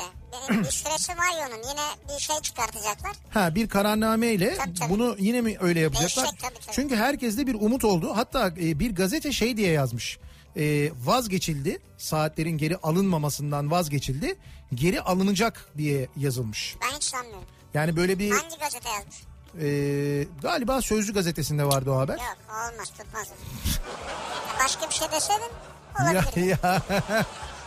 S2: bir, bir süresi var ya onun yine bir şey çıkartacaklar.
S1: Ha bir kararname ile
S2: Tabii, tabii.
S1: bunu yine mi öyle yapacaklar?
S2: Değişecek, tabii, tabii.
S1: Çünkü herkeste bir umut oldu. Hatta e, bir gazete şey diye yazmış. E, vazgeçildi. Saatlerin geri alınmamasından vazgeçildi. Geri alınacak diye yazılmış.
S2: Ben hiç sanmıyorum.
S1: Yani böyle bir
S2: Hangi gazete yazmış?
S1: e, galiba Sözcü gazetesinde vardı o haber.
S2: Yok olmaz tutmaz. Ya Başka bir şey deseydin
S1: Ya,
S2: olabilir.
S1: ya.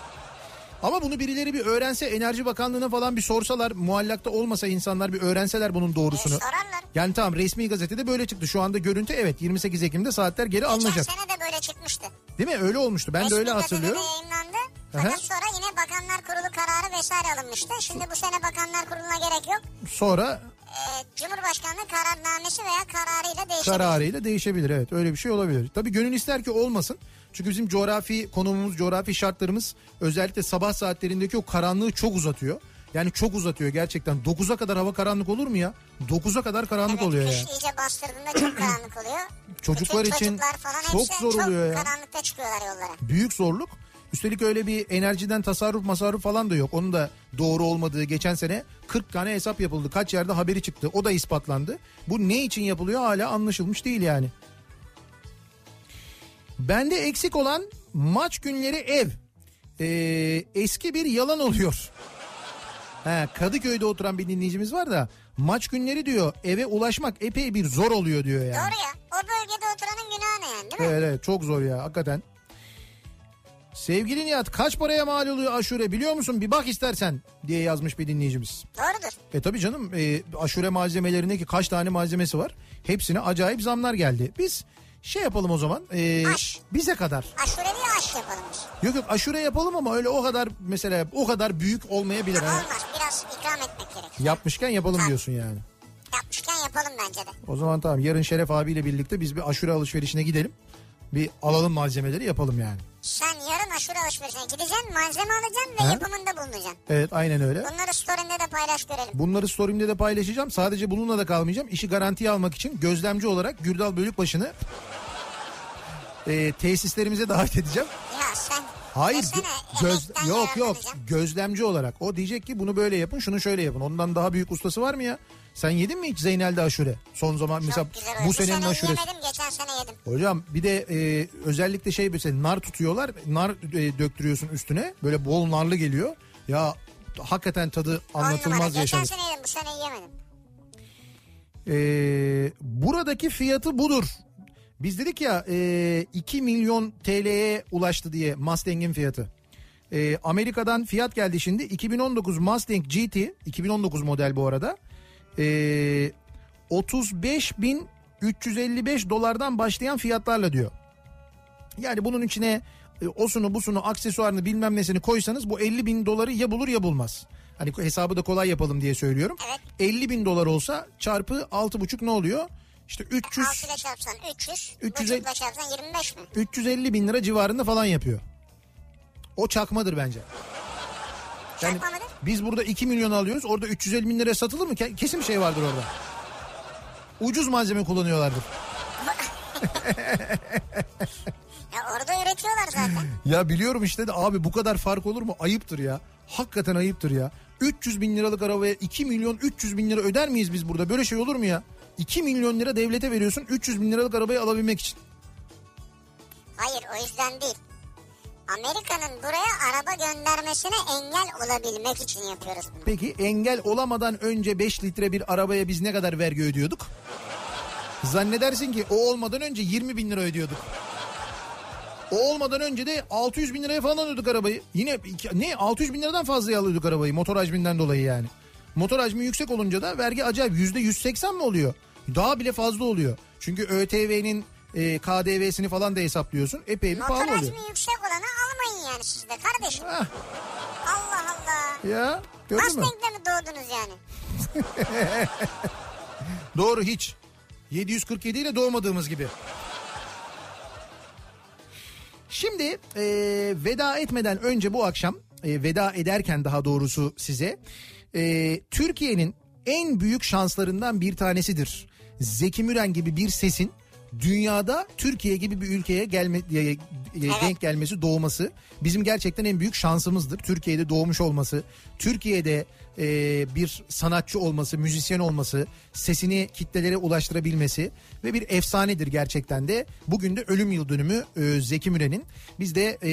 S1: Ama bunu birileri bir öğrense Enerji Bakanlığı'na falan bir sorsalar muallakta olmasa insanlar bir öğrenseler bunun doğrusunu.
S2: E, sorarlar.
S1: Yani tamam resmi gazetede böyle çıktı. Şu anda görüntü evet 28 Ekim'de saatler geri
S2: Geçen
S1: alınacak.
S2: sene de böyle çıkmıştı.
S1: Değil mi? Öyle olmuştu. Ben de öyle
S2: Resmi
S1: hatırlıyorum.
S2: gazetede yayınlandı.
S1: Aha.
S2: Fakat sonra yine Bakanlar Kurulu kararı vesaire alınmıştı. Şimdi bu sene Bakanlar Kurulu'na gerek yok.
S1: Sonra
S2: Ee, Cumhurbaşkanlığı kararnamesi veya kararıyla değiştirildi.
S1: kararıyla değişebilir. Evet öyle bir şey olabilir. Tabii gönül ister ki olmasın. Çünkü bizim coğrafi konumumuz, coğrafi şartlarımız özellikle sabah saatlerindeki o karanlığı çok uzatıyor. Yani çok uzatıyor gerçekten. 9'a kadar hava karanlık olur mu ya? 9'a kadar karanlık oluyor
S2: kış
S1: yani.
S2: iyice bastırdığında çok karanlık oluyor.
S1: Çocuklar
S2: Bütün
S1: için
S2: çocuklar falan
S1: çok
S2: hepsi
S1: zor oluyor ya.
S2: Çok karanlıkta çıkıyorlar yollara.
S1: büyük zorluk. Üstelik öyle bir enerjiden tasarruf masarruf falan da yok. Onun da doğru olmadığı geçen sene 40 tane hesap yapıldı. Kaç yerde haberi çıktı. O da ispatlandı. Bu ne için yapılıyor hala anlaşılmış değil yani. Bende eksik olan maç günleri ev. Ee, eski bir yalan oluyor. He, Kadıköy'de oturan bir dinleyicimiz var da maç günleri diyor eve ulaşmak epey bir zor oluyor diyor yani.
S2: Doğru ya. O bölgede oturanın günahı ne yani değil mi?
S1: Evet evet çok zor ya hakikaten. Sevgili Nihat kaç paraya mal oluyor aşure biliyor musun? Bir bak istersen diye yazmış bir dinleyicimiz.
S2: Doğrudur.
S1: E tabii canım e, aşure malzemelerindeki kaç tane malzemesi var? Hepsine acayip zamlar geldi. Biz Şey yapalım o zaman. e,
S2: Aş.
S1: bize kadar.
S2: Aşure bir aş yapalım biz.
S1: Yok yok aşure yapalım ama öyle o kadar mesela o kadar büyük olmayabilir. ha.
S2: Olmaz biraz ikram etmek gerek.
S1: Yapmışken yapalım diyorsun yani.
S2: Yapmışken yapalım bence de.
S1: O zaman tamam yarın Şeref abiyle birlikte biz bir aşure alışverişine gidelim. Bir alalım malzemeleri yapalım yani.
S2: Sen yarın aşure alışverişine gideceksin malzeme alacaksın ve
S1: He?
S2: yapımında bulunacaksın.
S1: Evet aynen öyle.
S2: Bunları story'inde de paylaş görelim.
S1: Bunları story'imde de paylaşacağım. Sadece bununla da kalmayacağım. İşi garantiye almak için gözlemci olarak Gürdal Bölükbaşı'nı e, tesislerimize davet edeceğim.
S2: Ya sen
S1: Hayır
S2: desene,
S1: gö- göz
S2: emekten
S1: yok yok
S2: yararlanacağım.
S1: gözlemci olarak. O diyecek ki bunu böyle yapın, şunu şöyle yapın. Ondan daha büyük ustası var mı ya? Sen yedin mi hiç Zeynel'de aşure? Son zaman mesela
S2: Çok güzel oldu.
S1: bu senenin
S2: sene
S1: aşuresi.
S2: yemedim geçen sene yedim.
S1: Hocam bir de e, özellikle şey mesela nar tutuyorlar. Nar e, döktürüyorsun üstüne. Böyle bol narlı geliyor. Ya hakikaten tadı
S2: On numara.
S1: anlatılmaz
S2: Geçen
S1: yaşanır.
S2: sene yedim bu sene yemedim.
S1: Ee, buradaki fiyatı budur. Biz dedik ya e, 2 milyon TL'ye ulaştı diye Mustang'in fiyatı. E, Amerika'dan fiyat geldi şimdi. 2019 Mustang GT, 2019 model bu arada. E, 35.355 dolardan başlayan fiyatlarla diyor. Yani bunun içine e, osunu busunu aksesuarını bilmem nesini koysanız bu 50 bin doları ya bulur ya bulmaz. Hani hesabı da kolay yapalım diye söylüyorum. 50 bin dolar olsa çarpı 6,5 ne oluyor? İşte 300,
S2: 6 ile çarpsan 300.
S1: 300
S2: 300 buçukla çarpsan 25 mi?
S1: 350 bin lira civarında falan yapıyor. O çakmadır bence. Yani
S2: Çarpma mıdır?
S1: biz burada 2 milyon alıyoruz. Orada 350 bin liraya satılır mı? Ke- Kesin bir şey vardır orada. Ucuz malzeme kullanıyorlardır.
S2: Ya orada üretiyorlar zaten.
S1: Ya biliyorum işte de abi bu kadar fark olur mu? Ayıptır ya. Hakikaten ayıptır ya. 300 bin liralık arabaya 2 milyon 300 bin lira öder miyiz biz burada? Böyle şey olur mu ya? 2 milyon lira devlete veriyorsun 300 bin liralık arabayı alabilmek için.
S2: Hayır o yüzden değil. Amerika'nın buraya araba göndermesine engel olabilmek için yapıyoruz bunu.
S1: Peki engel olamadan önce 5 litre bir arabaya biz ne kadar vergi ödüyorduk? Zannedersin ki o olmadan önce 20 bin lira ödüyorduk. O olmadan önce de 600 bin liraya falan alıyorduk arabayı. Yine iki- ne 600 bin liradan fazla alıyorduk arabayı motor hacminden dolayı yani. Motor hacmi yüksek olunca da vergi acayip yüzde 180 mi oluyor? Daha bile fazla oluyor. Çünkü ÖTV'nin e, KDV'sini falan da hesaplıyorsun. Epey bir
S2: Motor
S1: pahalı oluyor.
S2: hacmi yüksek olanı almayın yani siz de kardeşim.
S1: Hah,
S2: Allah Allah.
S1: ya gördün mü?
S2: Mustang'de mi doğdunuz yani?
S1: Doğru hiç. 747 ile doğmadığımız gibi. Şimdi e, veda etmeden önce bu akşam e, veda ederken daha doğrusu size e, Türkiye'nin en büyük şanslarından bir tanesidir. Zeki Müren gibi bir sesin dünyada Türkiye gibi bir ülkeye gelme, e, e, denk gelmesi doğması bizim gerçekten en büyük şansımızdır. Türkiye'de doğmuş olması, Türkiye'de e, bir sanatçı olması, müzisyen olması, sesini kitlelere ulaştırabilmesi ve bir efsanedir gerçekten de. Bugün de ölüm yıl dönümü e, Zeki Müren'in. Biz de e,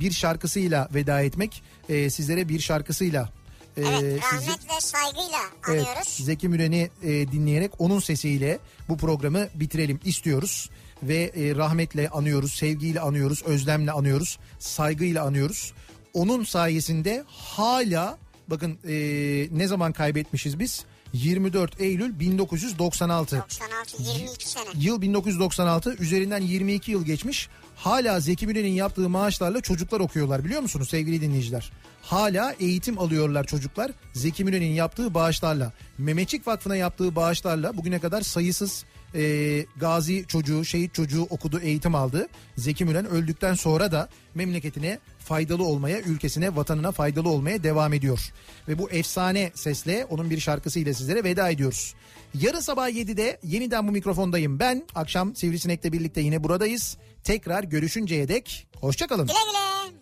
S1: bir şarkısıyla veda etmek, e, sizlere bir şarkısıyla e,
S2: Evet
S1: sizi-
S2: rahmet ve saygıyla
S1: Evet,
S2: anıyoruz.
S1: Zeki Müren'i e, dinleyerek onun sesiyle bu programı bitirelim istiyoruz. Ve e, rahmetle anıyoruz, sevgiyle anıyoruz, özlemle anıyoruz, saygıyla anıyoruz. Onun sayesinde hala bakın e, ne zaman kaybetmişiz biz? 24 Eylül 1996.
S2: 96, 22 sene.
S1: Yıl 1996 üzerinden 22 yıl geçmiş. Hala Zeki Müren'in yaptığı maaşlarla çocuklar okuyorlar biliyor musunuz sevgili dinleyiciler? Hala eğitim alıyorlar çocuklar Zeki Müren'in yaptığı bağışlarla. Memeçik Vakfı'na yaptığı bağışlarla bugüne kadar sayısız e, gazi çocuğu, şehit çocuğu okudu, eğitim aldı. Zeki Müren öldükten sonra da memleketine faydalı olmaya, ülkesine, vatanına faydalı olmaya devam ediyor. Ve bu efsane sesle onun bir şarkısıyla sizlere veda ediyoruz. Yarın sabah 7'de yeniden bu mikrofondayım ben. Akşam Sivrisinek'le birlikte yine buradayız. Tekrar görüşünceye dek hoşçakalın.
S2: Güle güle.